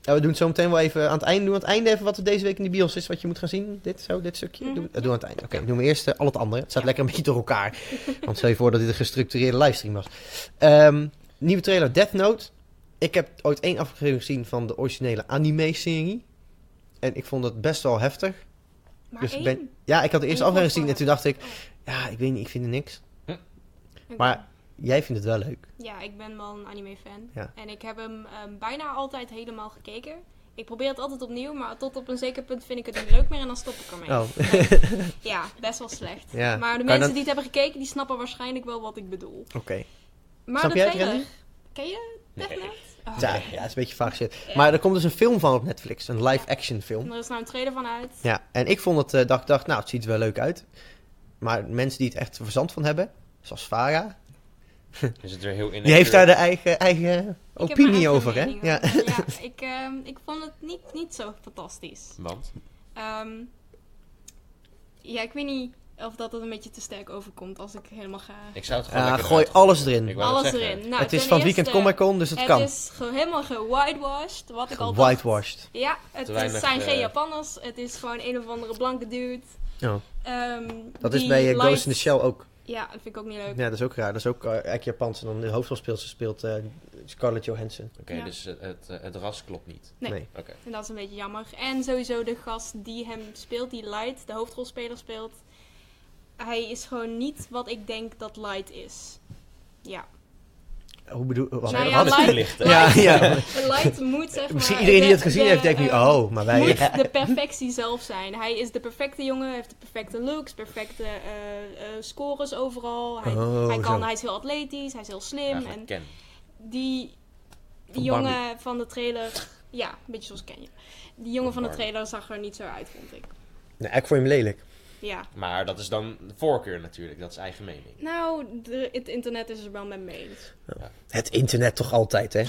Speaker 1: Ja, we doen het zo meteen wel even aan het einde. Doen we aan het einde even wat er deze week in de bios is, wat je moet gaan zien. Dit zo, dit stukje.
Speaker 3: Mhm.
Speaker 1: Doen, we- dat doen we aan het einde. Oké, doen we eerst eh, al het andere. Het staat lekker een (laughs) beetje door elkaar. Want stel je voor dat dit een gestructureerde livestream was. Ehm, nieuwe trailer Death Note. Ik heb ooit één aflevering gezien van de originele anime-serie. En ik vond het best wel heftig.
Speaker 3: Maar
Speaker 1: Dus
Speaker 3: één?
Speaker 1: ben- Ja, ik had de eerste
Speaker 3: Eén
Speaker 1: aflevering gezien en
Speaker 3: vond
Speaker 1: toen
Speaker 3: ik
Speaker 1: dacht ik... Ja, ik weet niet, ik vind er niks.
Speaker 3: Oké.
Speaker 1: Maar jij vindt het wel leuk.
Speaker 3: Ja, ik ben wel een anime fan.
Speaker 1: Ja.
Speaker 3: En ik heb hem ehm, bijna altijd helemaal gekeken. Ik probeer het altijd opnieuw, maar tot op een zeker punt vind ik het niet leuk meer en dan stop ik ermee. (laughs)
Speaker 1: Oh,
Speaker 3: Ja, best wel slecht.
Speaker 1: Ja.
Speaker 3: Maar de
Speaker 1: Kan
Speaker 3: mensen
Speaker 1: dat-
Speaker 3: die het hebben gekeken, die snappen waarschijnlijk wel wat ik bedoel.
Speaker 1: oké.
Speaker 3: Maar
Speaker 1: Snap
Speaker 3: de
Speaker 1: jij het,
Speaker 3: trailer,
Speaker 1: Randy?
Speaker 3: ken je Death
Speaker 2: Nee.
Speaker 3: Note? Oh.
Speaker 1: Ja, ja, het is een beetje vaag shit. Maar er komt dus een film van op Netflix. Een live-action film.
Speaker 3: Er is nou een trailer van uit.
Speaker 1: Ja, en ik vond het, eh, dat ik dacht, nou, het ziet er wel leuk uit. Maar mensen die het echt verstand van hebben, zoals Farah,
Speaker 2: Is het weer heel in.
Speaker 1: die heeft daar de eigen, eigen
Speaker 3: eh, Ik heb mijn
Speaker 1: opinie
Speaker 3: eigen
Speaker 1: over, hè?
Speaker 3: mening
Speaker 1: Ja.
Speaker 3: over. Ja, ik, ehm, ik vond het niet, niet zo fantastisch.
Speaker 2: Want?
Speaker 3: Ehm, ja, ik weet niet of dat het een beetje te sterk overkomt als ik helemaal ga.
Speaker 2: Ik zou het gewoon.
Speaker 1: Ja,
Speaker 2: lekker
Speaker 1: Ah, gooi
Speaker 2: eruit gooien.
Speaker 1: alles erin.
Speaker 2: Ik wou net
Speaker 3: Alles
Speaker 2: zeggen.
Speaker 3: erin.
Speaker 1: (laughs)
Speaker 3: Nou,
Speaker 1: het is
Speaker 3: ten
Speaker 1: van Weekend
Speaker 3: eerste,
Speaker 1: Comic Con, dus dat
Speaker 3: het
Speaker 1: kan.
Speaker 3: is gewoon helemaal gewhitewashed, wat ik al dacht.
Speaker 1: Whitewashed.
Speaker 3: Ja, het
Speaker 2: Te
Speaker 3: is-
Speaker 2: weinig,
Speaker 3: zijn geen
Speaker 2: eh,
Speaker 3: Japanners. Het is gewoon een of andere blanke dude.
Speaker 1: Oh.
Speaker 3: Ehm,
Speaker 1: Dat
Speaker 3: die
Speaker 1: is bij eh, Ghost in
Speaker 3: lijkt-
Speaker 1: the Shell ook.
Speaker 3: Ja, dat vind ik ook niet leuk.
Speaker 1: Ja, dat is ook raar. Dat is ook eh, eigenlijk Japans. En dan de hoofdrolspeelster speelt eh, Scarlett Johansson.
Speaker 2: Oké,
Speaker 3: Ja.
Speaker 2: dus het, het, eh, het ras klopt niet.
Speaker 3: Nee.
Speaker 1: Nee.
Speaker 2: Oké.
Speaker 3: En dat is een beetje jammer. En sowieso de gast die hem speelt, die Light, de hoofdrolspeler speelt. Hij is gewoon niet wat ik denk dat Light is. Ja.
Speaker 1: Hoe bedoel... Wat,
Speaker 3: Nou ja,
Speaker 1: wat?
Speaker 3: live-
Speaker 2: licht.
Speaker 1: ja,
Speaker 3: (laughs)
Speaker 1: ja. (laughs)
Speaker 3: Light moet zeg maar...
Speaker 1: Misschien iedereen die het gezien
Speaker 3: de-
Speaker 1: heeft, denkt nu,
Speaker 3: eh,
Speaker 1: oh, maar wij...
Speaker 3: Moet de perfectie zelf zijn. Hij is de perfecte jongen, heeft de perfecte looks, perfecte eh, eh, scores overal. Hij,
Speaker 1: Oh,
Speaker 3: hij, kan,
Speaker 1: zo.
Speaker 3: hij is heel atletisch, hij is heel slim.
Speaker 2: Eigenlijk
Speaker 3: en
Speaker 2: ken.
Speaker 3: die,
Speaker 1: Van
Speaker 3: die jongen van de trailer... Ja, een beetje zoals Ken je. Die jongen van de
Speaker 2: Barbie.
Speaker 3: trailer zag er niet zo uit, vond ik.
Speaker 1: Nee, nou, ik vond hem lelijk.
Speaker 3: Ja.
Speaker 2: Maar dat is dan de voorkeur natuurlijk. Dat is eigen mening.
Speaker 3: Nou, de- het internet is er wel mee mee eens.
Speaker 1: Het internet toch altijd,
Speaker 3: (laughs)
Speaker 1: hè?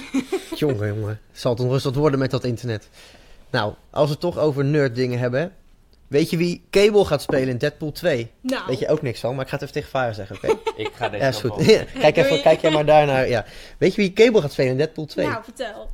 Speaker 1: jongen, jongen. Zal het onrustig worden met dat internet. Nou, als we het toch over nerd dingen hebben. Weet je wie Cable gaat spelen in Deadpool 2?
Speaker 3: Nou,
Speaker 1: Weet je ook niks van, maar ik ga het even tegen Varen
Speaker 3: (laughs)
Speaker 1: zeggen, oké?
Speaker 2: Ik
Speaker 1: (laughs)
Speaker 2: ga deze
Speaker 1: ja, is
Speaker 2: kant
Speaker 1: goed.
Speaker 2: wel.
Speaker 1: kijk, even,
Speaker 3: Doei.
Speaker 1: kijk
Speaker 3: (laughs)
Speaker 1: jij maar daarnaar. Ja. Weet je wie Cable gaat spelen in Deadpool 2?
Speaker 3: nou vertel.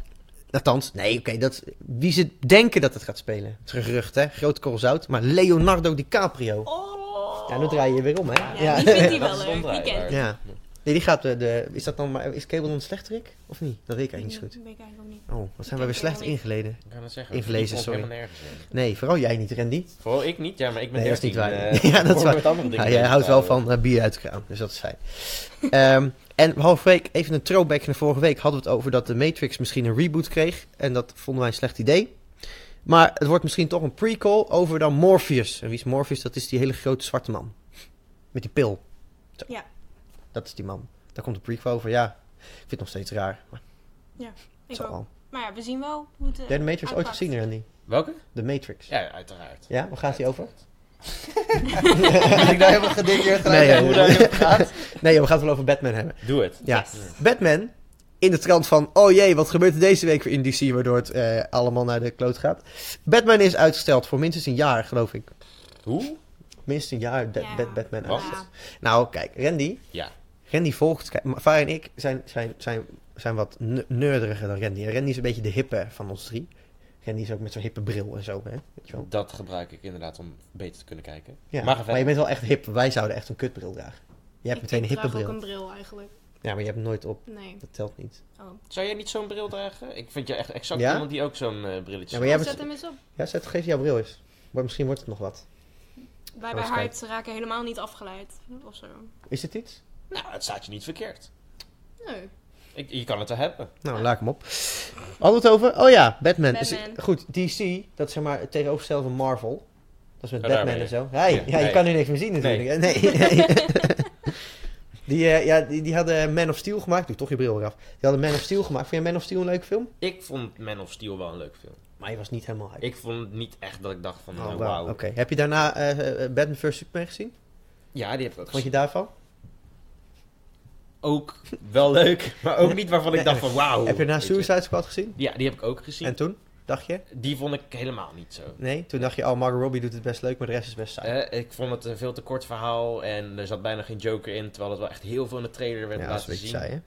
Speaker 1: Althans, nee, oké. dat wie ze denken dat het gaat spelen. Het is een gerucht, hè? Groot korrel zout. Maar Leonardo DiCaprio.
Speaker 3: Oh!
Speaker 1: Ja, nu draai je weer om, hè?
Speaker 3: Ja, die vindt
Speaker 2: (laughs) Dat
Speaker 3: hij wel
Speaker 2: is
Speaker 3: leuk. Die
Speaker 2: ondraaibaar.
Speaker 3: kent
Speaker 1: Ja. Nee, die gaat de, de... Is dat dan maar... Is Cable dan een slechterik? Of niet? Dat weet ik eigenlijk niet zo goed.
Speaker 3: Dat weet ik eigenlijk ook niet.
Speaker 1: Oh, wat zijn we weer slecht ingeleden.
Speaker 2: Ik kan het zeggen.
Speaker 1: Ingelezen,
Speaker 2: Ik kom
Speaker 1: sorry.
Speaker 2: helemaal nergens in.
Speaker 1: Nee, vooral jij niet, Randy.
Speaker 2: Vooral ik niet, ja, maar ik ben
Speaker 1: Nee, dat is
Speaker 2: 13.
Speaker 1: niet waar. (laughs)
Speaker 2: eh,
Speaker 1: Ja, dat is
Speaker 2: voor
Speaker 1: waar.
Speaker 2: met andere dingen
Speaker 1: Ja, jij
Speaker 2: bezig
Speaker 1: houdt wel
Speaker 2: houden.
Speaker 1: van eh, bier uit de kraan, dus dat is fijn. Ehm, en halve week, even een throwback naar vorige week, hadden we het over dat de Matrix misschien een reboot kreeg. En dat vonden wij een slecht idee. Maar het wordt misschien toch een prequel over dan Morpheus. En wie is Morpheus? Dat is die hele grote zwarte man. Met die pil. Zo.
Speaker 3: Ja.
Speaker 1: Dat is die man. Daar komt een prequel over, ja. Ik vind het nog steeds raar. Maar het
Speaker 3: Ik
Speaker 1: zal
Speaker 3: ook.
Speaker 1: al.
Speaker 3: Maar ja, we zien wel hoe het. eh,
Speaker 1: Heb jij de Matrix ooit
Speaker 3: uitpakt.
Speaker 1: gezien, Randy?
Speaker 2: Welke?
Speaker 1: De Matrix.
Speaker 2: Ja,
Speaker 1: (laughs)
Speaker 2: uiteraard.
Speaker 1: Ja, waar gaat die over?
Speaker 2: Heb ik daar helemaal gedicteerd
Speaker 1: gelijk Nee, aan hoe
Speaker 2: hoe
Speaker 1: nee, daar
Speaker 2: daar
Speaker 1: nee. over
Speaker 2: gaat?
Speaker 1: Nee, we gaan het wel over Batman hebben.
Speaker 2: Doe het.
Speaker 1: (laughs) Ja.
Speaker 3: Yes.
Speaker 1: Batman in de trant van, oh jee, wat gebeurt er deze week weer in DC, waardoor het eh, allemaal naar de kloot gaat. Batman is uitgesteld voor minstens een jaar, geloof ik.
Speaker 2: Hoe?
Speaker 1: Minstens een jaar Ba-
Speaker 3: Ja.
Speaker 1: Ba- Batman
Speaker 2: Was
Speaker 1: uitgesteld. Nou, kijk, Randy,
Speaker 2: Ja.
Speaker 1: Randy volgt, kijk, maar Var en ik zijn, zijn, zijn, zijn wat ne- neurderiger dan Randy. En Randy is een beetje de hippe van ons drie. Randy is ook met zo'n hippe bril en zo, hè? Weet je wel.
Speaker 2: Dat gebruik ik inderdaad om beter te kunnen kijken.
Speaker 1: Ja.
Speaker 2: Maar
Speaker 1: Maar,
Speaker 2: ga verder.
Speaker 1: je bent wel echt hip. Wij zouden echt een kutbril dragen. Jij hebt
Speaker 3: Ik
Speaker 1: meteen een hippe
Speaker 3: draag ook
Speaker 1: bril.
Speaker 3: een bril eigenlijk.
Speaker 1: Ja, maar je hebt hem nooit op.
Speaker 3: Nee.
Speaker 1: Dat telt niet.
Speaker 3: Oh.
Speaker 2: Zou jij niet zo'n bril dragen? Ik vind je echt exact
Speaker 1: Ja?
Speaker 2: iemand die ook zo'n eh, brilletje
Speaker 1: Ja, maar jij
Speaker 3: Oh,
Speaker 1: bent-
Speaker 3: Zet hem eens op.
Speaker 1: Ja, zet, geef jouw bril eens. Maar misschien wordt het nog wat.
Speaker 3: Wij bij
Speaker 1: waarschijnlijk.
Speaker 3: Hyped raken helemaal niet afgeleid. Of zo.
Speaker 1: Is dit iets?
Speaker 2: Nou, het staat je niet verkeerd.
Speaker 3: Nee.
Speaker 2: Ik, je kan het er hebben.
Speaker 1: Nou, laat ik hem op. Hadden we het over? Oh ja, Batman. Is-
Speaker 3: Batman.
Speaker 1: goed, DC, dat is zeg maar het tegenovergestelde van Marvel. Dat is met
Speaker 2: Ja,
Speaker 1: Batman
Speaker 2: daarmee.
Speaker 1: en zo. Hey, ja,
Speaker 2: Ja,
Speaker 1: Oh, je
Speaker 2: nee.
Speaker 1: kan nu niks meer zien natuurlijk. hè? Nee. (laughs) die, eh, ja, die, die hadden Man of Steel gemaakt. Doe toch je bril weer af. Die hadden Man of Steel gemaakt. Vind je Man of Steel een leuke film?
Speaker 2: Ik vond Man of Steel wel een leuk film.
Speaker 1: Maar je was niet helemaal hype.
Speaker 2: Ik vond niet echt dat ik dacht van,
Speaker 1: Oh,
Speaker 2: oh,
Speaker 1: wauw.
Speaker 2: wauw.
Speaker 1: Oké. Heb je daarna eh, eh, Batman vs. Superman gezien?
Speaker 2: Ja, die heb ik
Speaker 1: Vond
Speaker 2: ook
Speaker 1: je
Speaker 2: gezien.
Speaker 1: daarvan?
Speaker 2: Ook wel leuk, (laughs) maar ook niet waarvan ik
Speaker 1: Nee,
Speaker 2: dacht van, wauw.
Speaker 1: heb je daarna
Speaker 2: Weet je.
Speaker 1: Suicide Squad gezien?
Speaker 2: Ja, die heb ik ook gezien.
Speaker 1: En toen? Dacht je?
Speaker 2: Die vond ik helemaal niet zo.
Speaker 1: Nee? Toen dacht je, oh, Margot Robbie doet het best leuk, maar de rest is best saai.
Speaker 2: Eh, ik vond het een veel te kort verhaal en er zat bijna geen Joker in, terwijl het wel echt heel veel in de trailer werd
Speaker 1: ja, dat is een
Speaker 2: laten
Speaker 1: beetje
Speaker 2: zien.
Speaker 1: saai, hè?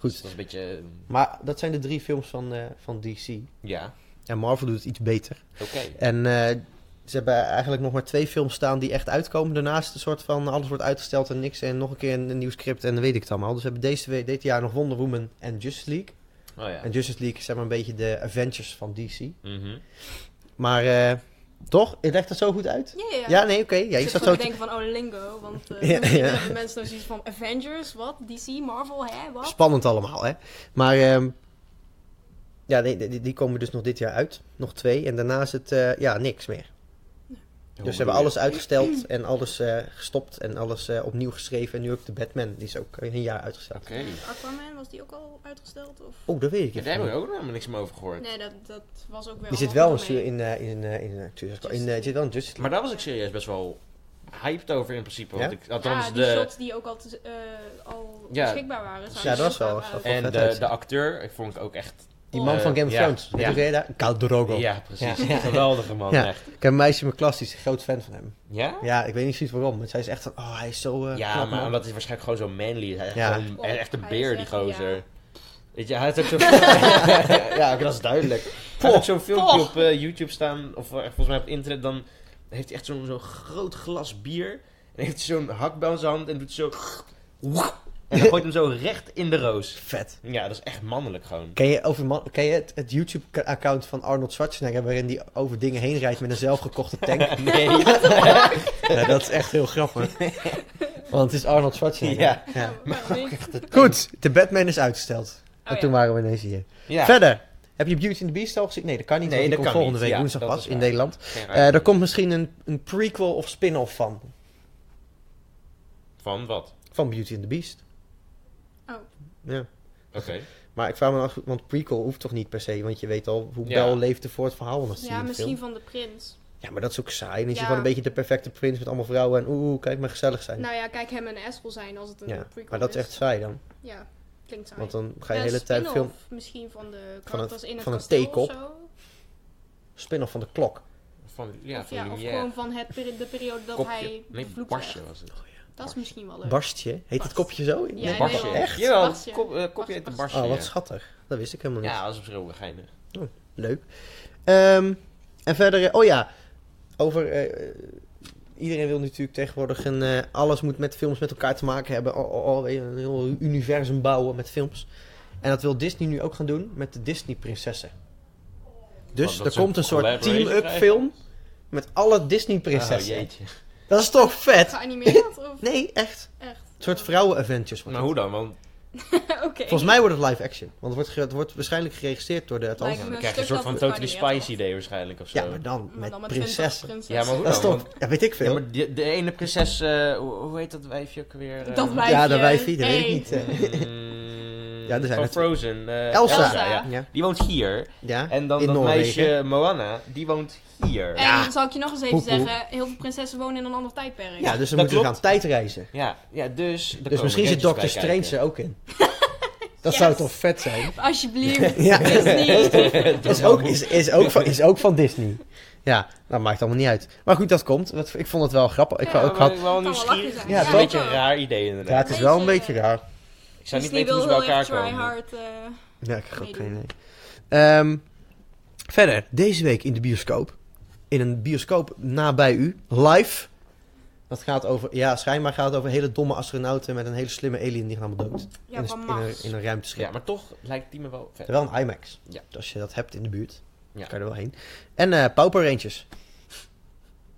Speaker 2: Dus
Speaker 1: Goed.
Speaker 2: dat is een beetje, eh,
Speaker 1: Maar dat zijn de drie films van, eh, van DC.
Speaker 2: ja,
Speaker 1: En Marvel doet het iets beter.
Speaker 2: oké.
Speaker 1: (laughs) En eh, ze hebben eigenlijk nog maar twee films staan die echt uitkomen. Daarnaast een soort van alles wordt uitgesteld en niks. En nog een keer een, een nieuw script en dan weet ik het allemaal. Dus we hebben deze, we- dit jaar nog Wonder Woman en Justice League.
Speaker 2: Oh ja.
Speaker 1: En Justice League is zeg maar een beetje de Avengers van DC.
Speaker 2: Mhm.
Speaker 1: Maar eh, toch, het legt het zo goed uit.
Speaker 3: Ja, ja.
Speaker 1: Ja, nee, oké. Ja, je
Speaker 3: ik zat
Speaker 1: zat zo
Speaker 3: te
Speaker 1: te-
Speaker 3: denken van, oh, lingo. Want eh,
Speaker 1: (laughs) Ja, ja.
Speaker 3: hebben (laughs) mensen nou zoiets van Avengers, wat? DC, Marvel, hè, wat?
Speaker 1: Spannend allemaal, hè? Maar ehm, ja, nee, die, die komen dus nog dit jaar uit. Nog twee. En daarna is het eh, ja, niks meer.
Speaker 2: Oh,
Speaker 1: Dus ze hebben alles uitgesteld en alles eh, gestopt en alles eh, opnieuw geschreven. En nu ook de Batman, die is ook een jaar uitgesteld.
Speaker 2: Oké.
Speaker 3: Aquaman, was die ook al uitgesteld? Of?
Speaker 1: Oh, dat weet ik
Speaker 2: Ja,
Speaker 1: niet.
Speaker 2: daar hebben we ook helemaal niks meer over gehoord.
Speaker 3: Nee, dat, dat was ook weer
Speaker 1: Die zit wel
Speaker 3: allemaal
Speaker 1: in,
Speaker 3: mee.
Speaker 1: Su- in, eh, in, eh, in, eh, Suicide Squad- in, eh, die zit wel in Justice
Speaker 2: Maar
Speaker 1: League.
Speaker 2: daar was ik serieus best wel hyped over in principe. Want
Speaker 1: Ja?
Speaker 2: ik, althans,
Speaker 3: ja, die
Speaker 2: de,
Speaker 3: shots die ook al, te- eh, al
Speaker 2: Ja.
Speaker 3: beschikbaar waren.
Speaker 1: Ja, dat was
Speaker 3: was
Speaker 1: wel- was wel-
Speaker 2: en
Speaker 1: vet
Speaker 2: de,
Speaker 1: uit.
Speaker 2: de acteur, ik vond ik ook echt...
Speaker 3: Oh,
Speaker 1: Die man
Speaker 2: Eh,
Speaker 1: van Game of
Speaker 2: ja,
Speaker 1: Thrones. Weet
Speaker 2: ja.
Speaker 1: je wie hij daar? Khal Drogo.
Speaker 2: Ja, precies.
Speaker 1: Ja, ja.
Speaker 2: (laughs) Geweldige man,
Speaker 1: Ja.
Speaker 2: echt.
Speaker 1: Ik heb een meisje in mijn klas, die is een groot fan van hem.
Speaker 2: Ja?
Speaker 1: Ja, ik weet niet precies waarom. Maar zij is echt van, oh, hij is zo eh
Speaker 2: Ja,
Speaker 1: knap,
Speaker 2: maar
Speaker 1: man.
Speaker 2: omdat hij waarschijnlijk gewoon zo manly is. Hij is
Speaker 1: Ja.
Speaker 2: gewoon- hij is echt een
Speaker 3: Hij
Speaker 2: beer,
Speaker 3: is
Speaker 2: die
Speaker 3: echt-
Speaker 2: gozer.
Speaker 3: ja.
Speaker 2: Weet je, hij heeft ook zo'n... (laughs) ja, oké, dat is duidelijk. Hij heeft ook zo'n filmpje
Speaker 3: Poch.
Speaker 2: op eh, YouTube staan, of eh, volgens mij op het internet, dan heeft hij echt zo'n zo'n groot glas bier. En heeft hij zo'n hakbel in zijn hand en doet zo... En dan gooit hem zo recht in de roos.
Speaker 1: Vet.
Speaker 2: Ja, dat is echt mannelijk
Speaker 1: (laughs)
Speaker 2: gewoon.
Speaker 1: Ken je, over man- ken je het, het YouTube-account van Arnold Schwarzenegger... waarin die over dingen heen rijdt met een zelfgekochte
Speaker 2: (laughs)
Speaker 1: tank?
Speaker 2: Nee.
Speaker 1: ja, dat is echt heel grappig. (laughs) Want het is Arnold Schwarzenegger.
Speaker 2: Ja.
Speaker 1: Ja. (laughs)
Speaker 3: Waarom niet?
Speaker 1: Goed, de Batman is uitgesteld.
Speaker 3: Oh,
Speaker 1: en toen
Speaker 3: ja.
Speaker 1: waren we ineens hier.
Speaker 2: Ja.
Speaker 1: Verder, heb je Beauty and the Beast al gezien? Nee, dat kan niet,
Speaker 2: Nee,
Speaker 1: want die
Speaker 2: dat
Speaker 1: komt
Speaker 2: kan
Speaker 1: volgende
Speaker 2: niet.
Speaker 1: week
Speaker 2: Ja,
Speaker 1: woensdag
Speaker 2: dat
Speaker 1: pas
Speaker 2: is
Speaker 1: in
Speaker 2: waar.
Speaker 1: Nederland.
Speaker 2: Geen
Speaker 1: Eh
Speaker 2: ruimte.
Speaker 1: er komt misschien een, een prequel of spin-off van,
Speaker 2: Van wat?
Speaker 1: van Beauty and the Beast.
Speaker 3: Oh.
Speaker 1: Ja.
Speaker 2: Oké.
Speaker 1: Maar ik vraag me af, want prequel hoeft toch niet per se, want je weet al hoe
Speaker 2: Ja.
Speaker 1: Bel leefde voor het verhaal. anders
Speaker 3: Ja, misschien
Speaker 1: Film.
Speaker 3: van de prins.
Speaker 1: Ja, maar dat is ook saai. Dan is
Speaker 3: Ja.
Speaker 1: je gewoon een beetje de perfecte prins met allemaal vrouwen en oeh, kijk maar gezellig zijn.
Speaker 3: Nou ja, kijk hem en Eskel zijn als het een
Speaker 1: ja.
Speaker 3: prequel
Speaker 1: Maar dat is echt saai dan,
Speaker 3: Ja, klinkt saai.
Speaker 1: want dan ga je
Speaker 3: Ja,
Speaker 1: de hele tijd
Speaker 3: spin-off
Speaker 1: film
Speaker 3: Misschien van de
Speaker 1: Van het-
Speaker 3: karakters in het
Speaker 1: van een
Speaker 3: kasteel
Speaker 1: take-op.
Speaker 3: of zo.
Speaker 1: spin-off van de klok.
Speaker 2: Van, ja,
Speaker 3: of
Speaker 2: van
Speaker 3: ja, of
Speaker 2: Lumière.
Speaker 3: gewoon van het peri- de periode dat
Speaker 2: Kopje.
Speaker 3: hij
Speaker 2: Nee,
Speaker 3: vloekt
Speaker 2: barstje was het.
Speaker 3: Dat is misschien wel leuk.
Speaker 1: Barstje, heet het
Speaker 3: Barst.
Speaker 1: kopje zo? in
Speaker 3: Ja,
Speaker 1: Nederland?
Speaker 3: Barstje.
Speaker 2: Barstje.
Speaker 1: Echt?
Speaker 2: Jawel,
Speaker 3: Barstje.
Speaker 2: kop- eh, kopje heet een barstje.
Speaker 3: Barstje.
Speaker 1: Oh, wat
Speaker 2: ja.
Speaker 1: schattig. Dat wist ik helemaal niet.
Speaker 2: Ja, dat is op zich ook geinig.
Speaker 1: Leuk. Ehm, en verder, eh, oh ja, over. eh, iedereen wil natuurlijk tegenwoordig een. eh, alles moet met films met elkaar te maken hebben. Oh, oh, oh, weet je, een heel universum bouwen met films. En dat wil Disney nu ook gaan doen met de Disney-prinsessen.
Speaker 2: Want
Speaker 1: Dus
Speaker 2: dat
Speaker 1: er
Speaker 2: ze een
Speaker 1: komt een soort
Speaker 2: collaboration
Speaker 1: team-up
Speaker 2: krijgen.
Speaker 1: film met alle
Speaker 2: Oh,
Speaker 1: Disney-prinsessen.
Speaker 2: jeetje.
Speaker 1: dat is toch vet?
Speaker 3: Geanimeerd of
Speaker 1: Nee, echt.
Speaker 3: echt?
Speaker 1: Een soort vrouwen-adventures. wordt
Speaker 2: Maar
Speaker 1: het.
Speaker 2: hoe dan? Want
Speaker 3: (laughs) Oké.
Speaker 1: Volgens mij wordt het live-action. Want het wordt, ge- het wordt waarschijnlijk geregisseerd door de... het
Speaker 3: Lijkt
Speaker 1: hoofd-
Speaker 2: dan
Speaker 3: me
Speaker 2: krijg je een
Speaker 3: stuk
Speaker 2: soort van
Speaker 3: dat het
Speaker 2: Totally
Speaker 3: kan niet,
Speaker 2: Spice idee waarschijnlijk of zo.
Speaker 1: Ja, maar dan
Speaker 3: Maar
Speaker 1: met,
Speaker 3: Nou, dan
Speaker 1: prinsessen.
Speaker 3: 20
Speaker 2: Ja, maar hoe
Speaker 1: Dat is
Speaker 2: dan?
Speaker 1: toch... Dat weet ik veel.
Speaker 2: Oh, nou, Ja, maar die- de ene prinses, eh, hoe, hoe heet dat wijfje ook weer? eh?
Speaker 3: Dat wijfje.
Speaker 1: Ja, dat wijfje, dat
Speaker 3: Hey.
Speaker 1: weet ik niet. eh.
Speaker 2: Mm,
Speaker 1: Ja, er zijn
Speaker 2: van
Speaker 1: het-
Speaker 2: Frozen. eh,
Speaker 1: Elsa.
Speaker 2: ja.
Speaker 1: Ja,
Speaker 2: Die woont hier.
Speaker 1: ja.
Speaker 2: En dan
Speaker 1: In
Speaker 2: dat
Speaker 1: Noorwegen.
Speaker 2: meisje Moana, die woont hier.
Speaker 3: En zal ik je nog eens even
Speaker 1: Poepoe.
Speaker 3: zeggen, heel veel prinsessen wonen in een ander tijdperk.
Speaker 1: ja, dus dan
Speaker 2: Dat
Speaker 1: moeten we
Speaker 2: klopt.
Speaker 1: gaan tijdreizen.
Speaker 2: Ja, ja dus... daar
Speaker 1: Dus
Speaker 2: komen
Speaker 1: misschien zit
Speaker 2: gadgets
Speaker 1: Dr.
Speaker 2: bij
Speaker 1: Strange
Speaker 2: kijken.
Speaker 1: er ook
Speaker 2: (laughs)
Speaker 1: in. Dat
Speaker 3: Yes.
Speaker 1: zou toch vet (laughs) zijn?
Speaker 3: (laughs) Alsjeblieft.
Speaker 1: Ja.
Speaker 3: Disney.
Speaker 1: (laughs) Dat is ook, is, is,
Speaker 2: (laughs)
Speaker 1: ook van, is ook van Disney. Ja, dat maakt allemaal niet uit. Maar goed, dat komt. Dat, ik vond het wel grappig. Ik,
Speaker 3: Ja,
Speaker 1: wou-
Speaker 2: Ja,
Speaker 1: ik
Speaker 2: maar
Speaker 1: had,
Speaker 2: wel
Speaker 3: Kan wel lachen
Speaker 2: nieuwsgierig.
Speaker 3: zijn.
Speaker 1: Ja,
Speaker 2: Ja, een
Speaker 1: toch?
Speaker 2: beetje een raar idee
Speaker 1: ja,
Speaker 2: inderdaad.
Speaker 1: het is wel een beetje
Speaker 3: Beetje-
Speaker 1: raar.
Speaker 2: Ik zou niet
Speaker 3: Disney
Speaker 2: weten hoe ze
Speaker 3: wil
Speaker 2: bij
Speaker 3: heel
Speaker 2: elkaar
Speaker 3: erg try
Speaker 2: komen.
Speaker 3: hard. eh,
Speaker 1: Ja, ik heb ook geen idee.
Speaker 3: Meedoen.
Speaker 1: Ehm, verder, deze week in de bioscoop. In een bioscoop nabij u. Live. Dat gaat over, ja, schijnbaar gaat het over hele domme astronauten met een hele slimme alien die gaan allemaal dood. in,
Speaker 3: Ja,
Speaker 1: een,
Speaker 3: van
Speaker 1: in, een,
Speaker 3: Mars.
Speaker 1: in een ruimteschip.
Speaker 2: Ja, maar toch lijkt die me wel vet.
Speaker 1: Terwijl een IMAX.
Speaker 2: Ja.
Speaker 1: Dus als je dat hebt in de buurt,
Speaker 2: Ja.
Speaker 1: kan je er wel heen. En eh Pauper Rangers.
Speaker 2: (laughs)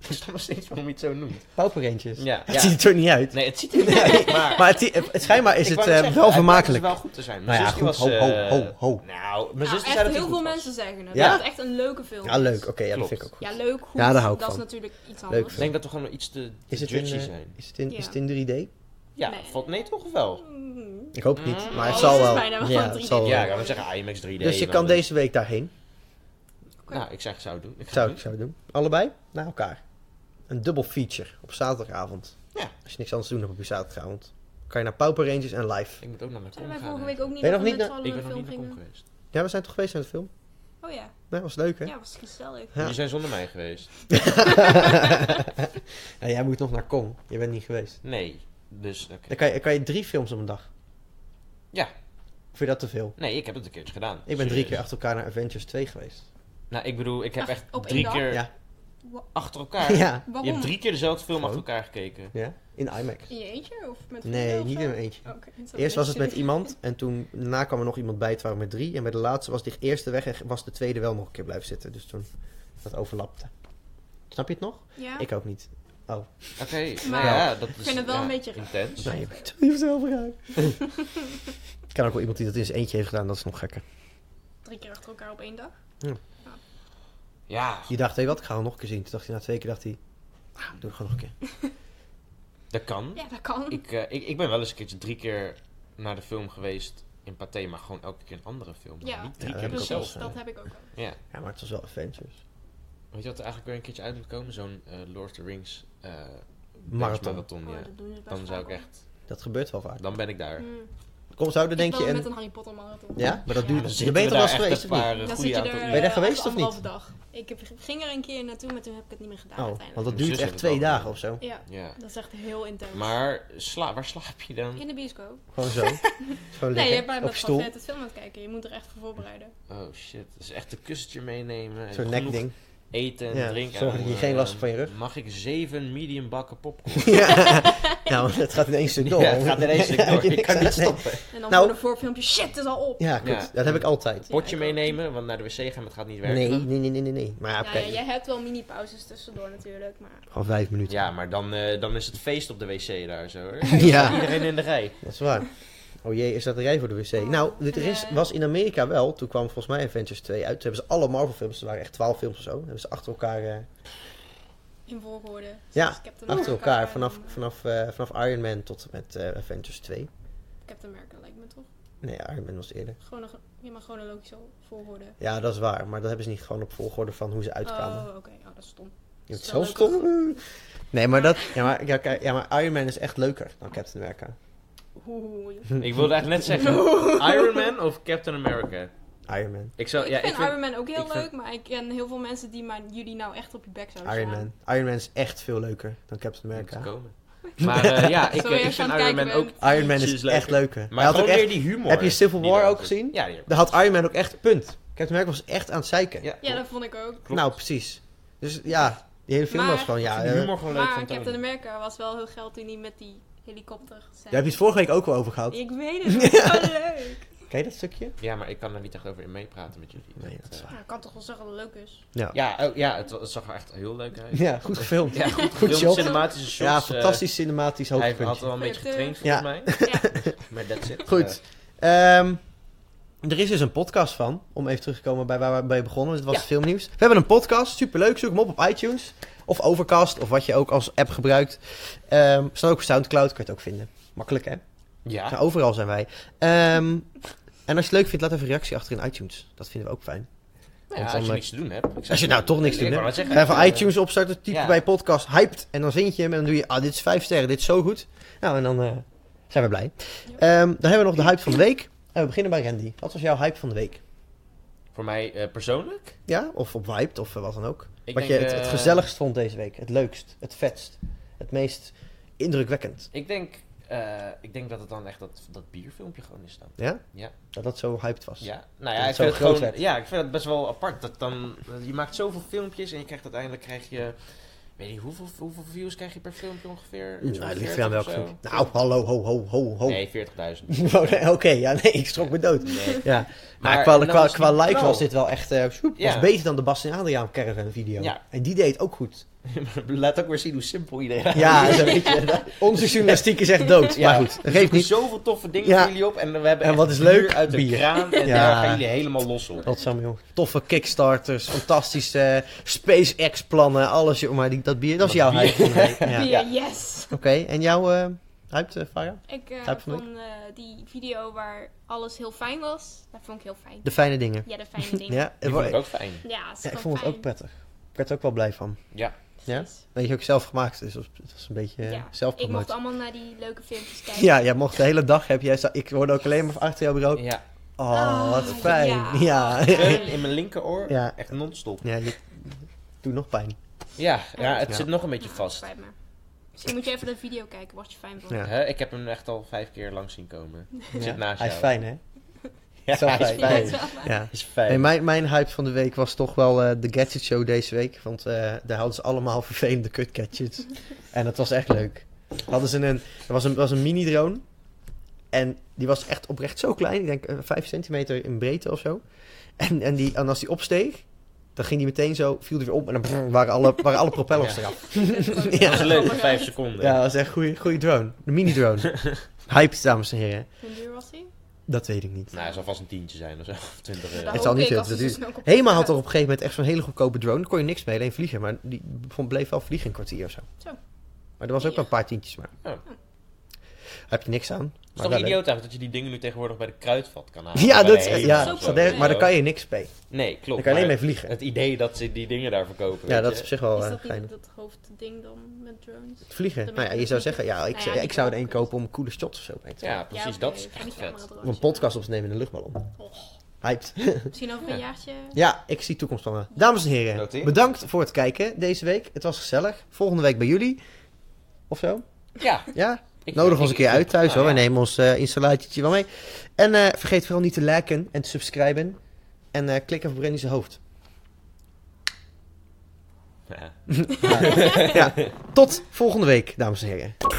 Speaker 2: Ik snap nog steeds waarom je het zo noemt.
Speaker 1: Pauper Rangers. (laughs)
Speaker 2: Ja,
Speaker 1: Het ziet er niet uit.
Speaker 2: Nee, het ziet er niet uit, maar...
Speaker 1: Maar het, het, het- schijnbaar is het
Speaker 2: Ik wou net
Speaker 1: eh,
Speaker 2: zeggen,
Speaker 1: wel
Speaker 2: hij
Speaker 1: vermakelijk.
Speaker 2: blijkt dus wel goed te zijn.
Speaker 1: Nou
Speaker 2: Mijn
Speaker 1: ja,
Speaker 2: zusje
Speaker 1: goed,
Speaker 2: was...
Speaker 1: ho, ho,
Speaker 2: eh,
Speaker 1: ho, ho.
Speaker 2: Nou, mijn
Speaker 3: Nou,
Speaker 2: zusje
Speaker 3: echt
Speaker 2: zei dat hij
Speaker 3: heel
Speaker 2: goed
Speaker 3: veel
Speaker 2: was.
Speaker 3: mensen zeggen het.
Speaker 1: Ja.
Speaker 3: Dat het echt een leuke film
Speaker 1: Ja, leuk. Oké, ja, dat
Speaker 2: Klopt.
Speaker 1: vind ik ook goed.
Speaker 3: Ja, leuk, goed.
Speaker 1: Ja, daar hou ik
Speaker 3: dat
Speaker 1: van.
Speaker 3: is natuurlijk iets
Speaker 1: Leuk
Speaker 3: anders.
Speaker 2: Ik denk dat we gewoon iets te
Speaker 1: Is
Speaker 2: is
Speaker 1: het in,
Speaker 2: judgy
Speaker 1: eh,
Speaker 2: zijn.
Speaker 1: Is het in,
Speaker 3: Ja.
Speaker 1: is het in 3D?
Speaker 2: Ja,
Speaker 3: Nee.
Speaker 2: valt nee toch of wel?
Speaker 3: Mm.
Speaker 1: Ik hoop het niet,
Speaker 2: Mm.
Speaker 1: maar het
Speaker 2: Oh,
Speaker 1: zal
Speaker 2: het is
Speaker 1: wel.
Speaker 3: bijna wel
Speaker 1: ja,
Speaker 3: 3D.
Speaker 1: het zal wel.
Speaker 2: Ja, ik wou zeggen IMAX 3D.
Speaker 1: Oh. Dus je
Speaker 2: maar
Speaker 1: kan
Speaker 2: dat-
Speaker 1: deze week daarheen.
Speaker 2: Nou, ik zeg, ik zou het doen. Ik ga
Speaker 1: Zou
Speaker 2: het
Speaker 1: ik zou ik doen. Allebei na elkaar. Een dubbel feature op zaterdagavond.
Speaker 2: Ja.
Speaker 1: Als je niks anders te doen hebt op je zaterdagavond. Kan je naar Pauper Rangers en live.
Speaker 2: doen. Ik moet ook naar mijn kom
Speaker 3: Zijn wij
Speaker 2: gaan.
Speaker 3: vorige
Speaker 2: hè.
Speaker 3: week ook niet
Speaker 1: Ben je
Speaker 3: nog
Speaker 1: nog
Speaker 3: met
Speaker 1: niet
Speaker 3: z'n
Speaker 1: naar-
Speaker 3: allen
Speaker 2: Ik
Speaker 3: naar
Speaker 2: ben
Speaker 3: een
Speaker 2: nog
Speaker 3: film
Speaker 2: niet naar kom
Speaker 3: gingen?
Speaker 2: geweest.
Speaker 1: Ja, we zijn toch geweest naar de film?
Speaker 3: Oh ja.
Speaker 1: Nee, was leuk hè?
Speaker 3: Ja, was gezellig.
Speaker 1: Ja.
Speaker 2: Jullie zijn zonder mij geweest.
Speaker 1: Ja, jij moet nog naar Kong. Je bent niet geweest.
Speaker 2: Nee. Dus, oké.
Speaker 1: Dan kan je, dan kan je drie films op een dag.
Speaker 2: Ja.
Speaker 1: Vind je dat te veel?
Speaker 2: Nee, ik heb het een keertje gedaan.
Speaker 1: Ik ben drie
Speaker 2: Serieus.
Speaker 1: keer achter elkaar naar Avengers 2 geweest.
Speaker 2: Nou, ik bedoel, ik heb
Speaker 3: Ach,
Speaker 2: echt
Speaker 3: op één
Speaker 2: drie
Speaker 3: dag?
Speaker 2: keer
Speaker 1: Ja. (laughs)
Speaker 3: Wa-
Speaker 2: achter elkaar.
Speaker 1: Ja.
Speaker 3: Waarom?
Speaker 2: Je hebt drie keer dezelfde film
Speaker 1: Gewoon.
Speaker 2: achter elkaar gekeken.
Speaker 1: ja. In IMAX.
Speaker 3: In je eentje of met
Speaker 1: Nee,
Speaker 3: vrienden of
Speaker 1: niet
Speaker 3: zo?
Speaker 1: in mijn eentje.
Speaker 3: Oké, dat is
Speaker 1: Eerst was het met
Speaker 3: natuurlijk-
Speaker 1: iemand en toen daarna kwam er nog iemand bij. Het waren met drie. En bij de laatste was de eerste weg en was de tweede wel nog een keer blijven zitten. Dus toen dat overlapte. Snap je het nog?
Speaker 3: Ja?
Speaker 1: Ik ook niet.
Speaker 2: Oké, nou
Speaker 3: Maar-
Speaker 2: ja, dat is...
Speaker 3: vind het wel
Speaker 2: ja,
Speaker 3: een beetje raar.
Speaker 2: Intens.
Speaker 1: Nee, je weet niet of het wel (laughs) raar. Ik ken ook wel iemand die dat in zijn eentje heeft gedaan. Dat is nog gekker.
Speaker 3: Drie keer achter elkaar op één dag.
Speaker 2: Ja,
Speaker 1: Die dacht, hé wat, ik ga hem nog een keer zien. Toen dacht hij na twee keer, dacht hij, ah, doe het gewoon nog een keer.
Speaker 2: dat kan.
Speaker 3: Ja, dat kan.
Speaker 2: Hm? Ik, eh, ik, ik ben wel eens een keertje drie keer naar de film geweest in Pathé, maar gewoon elke keer een andere film.
Speaker 3: Ja.
Speaker 2: Niet drie
Speaker 1: Ja, dat heb
Speaker 2: keer
Speaker 1: ik ook wel
Speaker 3: Precies,
Speaker 2: dezelfde.
Speaker 1: gedaan.
Speaker 3: dat heb ik ook al.
Speaker 2: Ja.
Speaker 1: Ja, maar het was wel dus. Avengers.
Speaker 2: Weet je wat er eigenlijk weer een keertje uit moet komen? Zo'n eh, Lord of the Rings eh,
Speaker 1: Marathon.
Speaker 2: marathon.
Speaker 3: Oh,
Speaker 2: ja.
Speaker 3: dat doen ze best
Speaker 2: eh, Dan zou ik
Speaker 3: vaak,
Speaker 2: echt... Hm.
Speaker 1: Dat gebeurt wel vaak.
Speaker 2: Dan ben ik daar.
Speaker 3: hoor.
Speaker 2: Ja,
Speaker 3: Mm.
Speaker 1: Kom, zouden
Speaker 3: Ik
Speaker 1: denk je
Speaker 3: wil
Speaker 1: en...
Speaker 3: met een Harry Potter marathon.
Speaker 1: Ja, maar dat
Speaker 3: Ja.
Speaker 1: duurt...
Speaker 2: dan
Speaker 1: je
Speaker 2: zitten we
Speaker 1: bent er
Speaker 2: daar
Speaker 1: wel eens
Speaker 2: echt
Speaker 1: geweest,
Speaker 2: een
Speaker 1: of niet?
Speaker 2: paar eh,
Speaker 3: Dan zit
Speaker 2: goede
Speaker 3: je
Speaker 2: aantal
Speaker 3: er
Speaker 1: Ben je
Speaker 2: uur.
Speaker 1: daar
Speaker 3: eh,
Speaker 1: geweest of niet?
Speaker 3: anderhalve dag. Ik heb- ging er een keer naartoe, maar toen heb ik het niet meer gedaan
Speaker 1: Oh, want
Speaker 3: uiteindelijk.
Speaker 1: dat
Speaker 2: Mijn
Speaker 1: duurt
Speaker 2: zus
Speaker 1: echt
Speaker 2: heeft het
Speaker 1: twee
Speaker 2: al
Speaker 1: dagen
Speaker 2: gedaan.
Speaker 1: of (laughs) zo.
Speaker 3: Ja,
Speaker 2: Ja.
Speaker 3: dat is echt heel intens.
Speaker 2: Maar sla, waar slaap je dan?
Speaker 3: In de bioscoop.
Speaker 1: Gewoon zo. Gewoon
Speaker 3: Nee, je
Speaker 1: liggen.
Speaker 3: hebt maar
Speaker 1: op
Speaker 3: met
Speaker 1: stoel.
Speaker 3: net het film aan het kijken. Je moet er echt voor voorbereiden.
Speaker 2: Oh shit. Dus echt een kussentje meenemen. en
Speaker 1: Zo'n
Speaker 2: genoeg
Speaker 1: nekding.
Speaker 2: Eten en
Speaker 1: Ja,
Speaker 2: drinken. Oh, eh,
Speaker 1: zorg dat je geen last hebt van je rug.
Speaker 2: Mag ik zeven medium
Speaker 1: (laughs)
Speaker 2: bakken popcorn? (laughs)
Speaker 1: ja, nou, het gaat ineens zo door.
Speaker 2: Ja, het gaat
Speaker 1: (laughs)
Speaker 2: ineens door. Ik kan niet stoppen.
Speaker 3: En dan
Speaker 1: Nou-
Speaker 3: voor de voorfilmpje, shit, het is al op.
Speaker 1: Ja, goed.
Speaker 2: Ja.
Speaker 1: Dat heb ik altijd.
Speaker 3: Ja,
Speaker 2: Potje
Speaker 3: ik ook.
Speaker 2: meenemen, want naar de wc gaan, het gaat niet werken.
Speaker 1: Nee, nee, nee, nee, nee. nee. Maar ja,
Speaker 3: Nou
Speaker 1: oké.
Speaker 3: ja, jij hebt wel mini-pauzes tussendoor natuurlijk, maar...
Speaker 1: Gewoon vijf minuten.
Speaker 2: Ja, maar dan, eh, dan is het feest op de wc daar zo
Speaker 1: (laughs)
Speaker 2: hoor.
Speaker 1: Ja,
Speaker 2: Iedereen in de rij.
Speaker 1: dat is waar. Oh jee, is dat een rij voor de wc?
Speaker 3: Oh,
Speaker 1: nou, dit
Speaker 3: en,
Speaker 1: er is,
Speaker 3: eh,
Speaker 1: was in Amerika wel. Toen kwam volgens mij Avengers 2 uit. Toen hebben ze alle Marvel films, er waren echt 12 films of zo. Hebben ze achter elkaar, eh,
Speaker 3: In volgorde. Dus
Speaker 1: Ja,
Speaker 3: Zoals Captain
Speaker 1: achter
Speaker 3: America
Speaker 1: elkaar
Speaker 3: en,
Speaker 1: vanaf,
Speaker 3: eh,
Speaker 1: vanaf, eh, vanaf Iron Man tot en met eh, Avengers 2.
Speaker 3: Captain America lijkt me toch?
Speaker 1: Nee, Iron Man was eerder.
Speaker 3: Gewoon een, je mag gewoon een logische volgorde.
Speaker 1: Ja, dat is waar. Maar dat hebben ze niet gewoon op volgorde van hoe ze uitkwamen.
Speaker 3: Oh, oké. Oh, dat is stom.
Speaker 1: Je hebt
Speaker 3: Is wel
Speaker 1: zelfs
Speaker 3: leuker.
Speaker 1: toch- Nee, maar dat... Ja maar, ja, kijk, ja, maar Iron Man is echt leuker dan Captain America.
Speaker 3: Oeh.
Speaker 2: Ik wilde echt net
Speaker 3: (laughs)
Speaker 2: zeggen, Iron Man of Captain America?
Speaker 1: Iron Man.
Speaker 2: Ik zou,
Speaker 3: ik,
Speaker 2: Nou, ja,
Speaker 3: vind
Speaker 2: ik vind,
Speaker 3: Iron Man ook heel
Speaker 2: ik
Speaker 3: leuk,
Speaker 2: vind-
Speaker 3: maar ik ken heel veel mensen die maar jullie nou echt op je bek zouden
Speaker 1: Iron
Speaker 3: slaan.
Speaker 1: Man. Iron Man is echt veel leuker dan Captain
Speaker 2: Moet
Speaker 1: America.
Speaker 3: (laughs)
Speaker 2: komen. Maar eh, ja, ik,
Speaker 3: Sorry,
Speaker 2: eh, ik
Speaker 3: als je
Speaker 2: vind
Speaker 3: aan het
Speaker 2: Iron Man
Speaker 3: kijken
Speaker 2: ook...
Speaker 1: Iron Man
Speaker 2: Ietsjes
Speaker 1: is
Speaker 2: leuker.
Speaker 1: echt leuker.
Speaker 2: Maar
Speaker 1: Hij had
Speaker 2: gewoon
Speaker 1: ook
Speaker 2: weer
Speaker 1: echt,
Speaker 2: die humor.
Speaker 1: heb je Civil
Speaker 2: die
Speaker 1: War
Speaker 2: daar
Speaker 1: ook
Speaker 2: zit.
Speaker 1: gezien?
Speaker 2: Ja, die heb ik
Speaker 1: daar had Iron Man ook echt een punt. Captain America was echt aan het zeiken.
Speaker 2: Ja,
Speaker 3: Ja, dat vond ik ook.
Speaker 2: klopt.
Speaker 1: Nou, precies. Dus ja, die hele film
Speaker 3: Maar-
Speaker 1: was gewoon... Ja,
Speaker 2: ik vind
Speaker 1: eh,
Speaker 2: die humor gewoon leuk
Speaker 3: Maar
Speaker 2: van
Speaker 3: Captain
Speaker 2: Tony.
Speaker 3: America was wel heel geld toen hij met die helikopter zei.
Speaker 1: daar heb je het vorige week ook al over gehad.
Speaker 3: Ik weet
Speaker 1: (laughs)
Speaker 3: het, het is zo leuk.
Speaker 1: Ken je dat stukje?
Speaker 2: Ja, maar ik kan daar niet echt over in meepraten met jullie. eh,
Speaker 1: Nee, dat is waar.
Speaker 3: Ja, ik kan toch wel zeggen dat het leuk is.
Speaker 2: Ja, oh, ja het, wa- het zag er echt heel leuk uit.
Speaker 1: Ja, goed gefilmd.
Speaker 2: Ja, goed,
Speaker 1: Goed
Speaker 2: gefilmd,
Speaker 1: shot.
Speaker 2: cinematische shots.
Speaker 1: Ja,
Speaker 2: eh,
Speaker 1: fantastisch cinematisch
Speaker 2: Hij had
Speaker 1: hoogtepuntje.
Speaker 2: wel een beetje getraind
Speaker 1: Ja.
Speaker 2: volgens mij. (laughs) Maar that's it. Eh,
Speaker 1: Goed. Ehm, er is dus een podcast van, om even terug te komen bij waar we bij begonnen. Dit was
Speaker 2: Ja.
Speaker 1: het filmnieuws. We hebben een podcast, superleuk. Zoek hem op op iTunes of Overcast of wat je ook als app gebruikt. Ehm staat ook op Soundcloud, kan je het ook vinden. Makkelijk hè?
Speaker 2: Eh, ja.
Speaker 1: Nou, overal zijn wij. Ehm, en als je het leuk vindt, laat even een reactie achter in iTunes. Dat vinden we ook fijn.
Speaker 2: Nou ja,
Speaker 1: Want
Speaker 2: als je
Speaker 1: dan,
Speaker 2: niks te doen hebt. Ik zou
Speaker 1: Als je nou toch niks
Speaker 2: Ik
Speaker 1: te doen
Speaker 2: wou
Speaker 1: hebt.
Speaker 2: net
Speaker 1: Ga
Speaker 2: zeggen,
Speaker 1: even
Speaker 2: eh,
Speaker 1: iTunes opstarten, typen
Speaker 2: ja.
Speaker 1: bij podcast, hyped. En dan vind je hem en dan doe je, ah dit is vijf sterren, dit is zo goed. Nou, en dan eh, zijn we blij. Ehm, dan hebben we nog de hype van de week. En we beginnen bij Randy. Wat was jouw hype van de week?
Speaker 2: Voor mij eh, persoonlijk.
Speaker 1: Ja, of op Wiped of eh, wat dan ook.
Speaker 2: Ik
Speaker 1: wat
Speaker 2: denk,
Speaker 1: je het, het
Speaker 2: eh,
Speaker 1: gezelligst vond deze week. Het leukst, het vetst, het meest indrukwekkend.
Speaker 2: Ik denk, eh, ik denk dat het dan echt dat, dat bierfilmpje gewoon is dan.
Speaker 1: Ja?
Speaker 2: Ja.
Speaker 1: Dat dat zo hyped was.
Speaker 2: Ja,
Speaker 1: Dat
Speaker 2: nou ja,
Speaker 1: het
Speaker 2: ik
Speaker 1: zo
Speaker 2: vind, het
Speaker 1: groot
Speaker 2: gewoon,
Speaker 1: werd.
Speaker 2: ja ik vind het best wel apart. Dat dan, je maakt zoveel filmpjes en je krijgt uiteindelijk krijg je Weet je, hoeveel, hoeveel views krijg je per filmpje ongeveer? Zo'n
Speaker 1: nou, het ligt
Speaker 2: 40
Speaker 1: weer aan
Speaker 2: of
Speaker 1: welke
Speaker 2: zo?
Speaker 1: film. Nou, hallo, ho, ho, ho, ho.
Speaker 2: Nee, 40.000.
Speaker 1: Oh, nee, (laughs) Oké, ja, nee, ik schrok me dood.
Speaker 2: Nee. (laughs)
Speaker 1: Ja, maar,
Speaker 2: Maar-
Speaker 1: qua,
Speaker 2: en dan
Speaker 1: qua,
Speaker 2: was
Speaker 1: qua
Speaker 2: die
Speaker 1: like
Speaker 2: blauw.
Speaker 1: was dit wel echt eh, sjoep, was
Speaker 2: Ja.
Speaker 1: beter dan de Bas en Adriaan caravan video.
Speaker 2: Ja.
Speaker 1: En die deed ook
Speaker 2: (laughs)
Speaker 1: goed.
Speaker 2: Laat ook weer zien hoe simpel iedereen
Speaker 1: Ja, (laughs) zo weet je. (laughs) Onze journalistiek is echt dood.
Speaker 2: Ja.
Speaker 1: Maar goed, dat geeft
Speaker 2: Er
Speaker 1: niet.
Speaker 2: zoveel toffe dingen
Speaker 1: Ja.
Speaker 2: voor jullie op. En we hebben
Speaker 1: En
Speaker 2: echt
Speaker 1: wat is
Speaker 2: bier
Speaker 1: leuk?
Speaker 2: uit de
Speaker 1: Bier.
Speaker 2: kraan. En
Speaker 1: Ja.
Speaker 2: daar gaan jullie helemaal los op.
Speaker 1: Godsam, joh. Toffe kickstarters, fantastische SpaceX-plannen, alles. joh. Maar die, dat bier, dat is jouw
Speaker 2: Dat
Speaker 1: hype. van de week. Ja.
Speaker 3: (laughs) Bier, yes!
Speaker 1: Oké, en jouw eh hype, eh, Farah?
Speaker 3: Ik eh,
Speaker 1: Type van
Speaker 3: vond eh, die video waar alles heel fijn was, dat vond ik heel fijn.
Speaker 1: De fijne dingen.
Speaker 3: Ja, de fijne dingen. ja,
Speaker 1: (laughs) Ja, het
Speaker 2: Die vond
Speaker 1: wordt-
Speaker 2: ik ook fijn.
Speaker 3: ja, is
Speaker 1: ja, ik
Speaker 3: gewoon
Speaker 1: vond het
Speaker 3: fijn.
Speaker 1: ook prettig. Ik werd er ook wel blij van.
Speaker 2: Ja.
Speaker 1: Ja?
Speaker 3: Precies.
Speaker 1: Weet je, ook zelf gemaakt. Dus dat is een beetje
Speaker 3: Ja,
Speaker 1: eh,
Speaker 3: Ik
Speaker 1: zelfpromotie.
Speaker 3: mocht allemaal naar die leuke filmpjes kijken.
Speaker 1: Ja, jij mocht de hele dag heb jij. Ik hoorde ook alleen maar van achter jouw bureau.
Speaker 2: ja.
Speaker 1: (laughs) Oh, wat fijn. Ja.
Speaker 3: ja.
Speaker 1: Ja, (laughs)
Speaker 2: Kreun in mijn linkeroor.
Speaker 1: Ja.
Speaker 2: Echt non-stop.
Speaker 1: je doet nog pijn.
Speaker 2: Ja, ja het
Speaker 1: Ja.
Speaker 2: zit nog een beetje
Speaker 3: Ah,
Speaker 2: vast.
Speaker 3: spijt me. Misschien moet je even de video kijken, word je fijn (laughs) van.
Speaker 1: Ja.
Speaker 2: Hè, ik heb hem echt al vijf keer langs zien komen. Ik
Speaker 1: Ja.
Speaker 2: zit naast
Speaker 1: Hij
Speaker 2: jou.
Speaker 1: is fijn, hè?
Speaker 2: (laughs) Ja,
Speaker 1: Zo
Speaker 2: hij is
Speaker 1: fijn.
Speaker 3: Ik vind
Speaker 2: fijn.
Speaker 3: het wel fijn.
Speaker 1: Ja.
Speaker 2: is fijn.
Speaker 1: Nee, mijn, mijn hype van de week was toch wel eh, de Gadget Show deze week. Want eh, daar hadden ze allemaal (laughs) vervelende kut gadgets. en dat was echt leuk. Hadden ze een, er was een, was een mini-drone. En die was echt oprecht zo klein. Ik denk eh, 5 centimeter in breedte of zo. En, en, die, en als die opsteeg, dan ging die meteen zo, viel die weer op. En dan brrr, waren alle, waren alle propellers
Speaker 2: Ja.
Speaker 1: eraf.
Speaker 2: Dat was leuk,
Speaker 3: (laughs)
Speaker 2: vijf seconden.
Speaker 1: Ja, dat was echt een goede, goede drone. Een mini-drone. hype, dames en heren.
Speaker 3: Hoe duur was die?
Speaker 1: Dat weet ik niet.
Speaker 2: Nou, het zal vast een tientje zijn of zo. Of twintig euro.
Speaker 3: Dat
Speaker 1: zal
Speaker 3: hoop
Speaker 1: niet
Speaker 3: ik dus
Speaker 1: heel
Speaker 3: als die
Speaker 1: duur-
Speaker 3: zo snel kapot
Speaker 1: Hema had
Speaker 3: gaat.
Speaker 1: er op een gegeven moment echt zo'n hele goedkope drone. Daar kon je niks mee, alleen vliegen. Maar die vond- bleef wel vliegen een kwartier of zo.
Speaker 3: Zo.
Speaker 1: Maar er was ook wel een paar tientjes maar.
Speaker 2: Ja.
Speaker 1: Heb je niks aan.
Speaker 2: Het is
Speaker 1: Maar
Speaker 2: toch
Speaker 1: wel leuk.
Speaker 2: idioot eigenlijk dat je die dingen nu tegenwoordig bij de kruidvat kan halen.
Speaker 1: Ja,
Speaker 2: Bij de
Speaker 1: dat, is-
Speaker 2: Hema
Speaker 1: ja
Speaker 2: of
Speaker 3: zo
Speaker 1: dat
Speaker 2: weet
Speaker 1: is-
Speaker 2: je
Speaker 1: maar daar
Speaker 2: wel.
Speaker 1: kan je niks mee.
Speaker 2: Nee, klopt.
Speaker 1: Daar kan je alleen
Speaker 2: maar
Speaker 1: mee vliegen.
Speaker 2: Het idee dat ze die dingen daar verkopen.
Speaker 1: Ja,
Speaker 2: weet
Speaker 1: dat
Speaker 2: je.
Speaker 1: is op zich wel
Speaker 3: Is
Speaker 1: eh,
Speaker 3: dat
Speaker 1: geinig.
Speaker 3: niet het hoofdding dan met drones?
Speaker 1: Het vliegen.
Speaker 3: Dat
Speaker 1: Nou ja,
Speaker 3: maakt
Speaker 1: je
Speaker 3: het
Speaker 1: zou
Speaker 3: niet
Speaker 1: zeggen, ja, ik,
Speaker 3: Nou
Speaker 1: ja,
Speaker 3: ja, die
Speaker 1: ik zou er één
Speaker 3: kopen is- Oh,
Speaker 1: kopen om coole shots of zo mee te
Speaker 2: Ja, precies.
Speaker 3: Ja,
Speaker 2: Dat
Speaker 3: oké,
Speaker 2: is
Speaker 3: van die
Speaker 2: echt vet.
Speaker 3: cameradrones,
Speaker 1: Om een
Speaker 3: ja.
Speaker 1: podcast op te nemen in een luchtballon. Hyped.
Speaker 3: Misschien over een
Speaker 2: Ja.
Speaker 3: jaartje.
Speaker 1: Ja, ik zie toekomst van me. Dames en heren,
Speaker 2: Noteer.
Speaker 1: bedankt voor het kijken deze week. Het was gezellig. Volgende week bij jullie. Of zo?
Speaker 2: Ja.
Speaker 1: Ja?
Speaker 2: ik-
Speaker 1: Nodig
Speaker 2: ik-
Speaker 1: ons een keer
Speaker 2: ik-
Speaker 1: uit thuis
Speaker 2: nou,
Speaker 1: hoor.
Speaker 2: ja.
Speaker 1: We nemen ons eh installatietje wel mee. En eh, vergeet vooral niet te liken en te subscriben. En eh, klik even op Brandy's
Speaker 2: (laughs)
Speaker 1: hoofd.
Speaker 2: Ja.
Speaker 1: ja. Tot volgende week, dames en heren.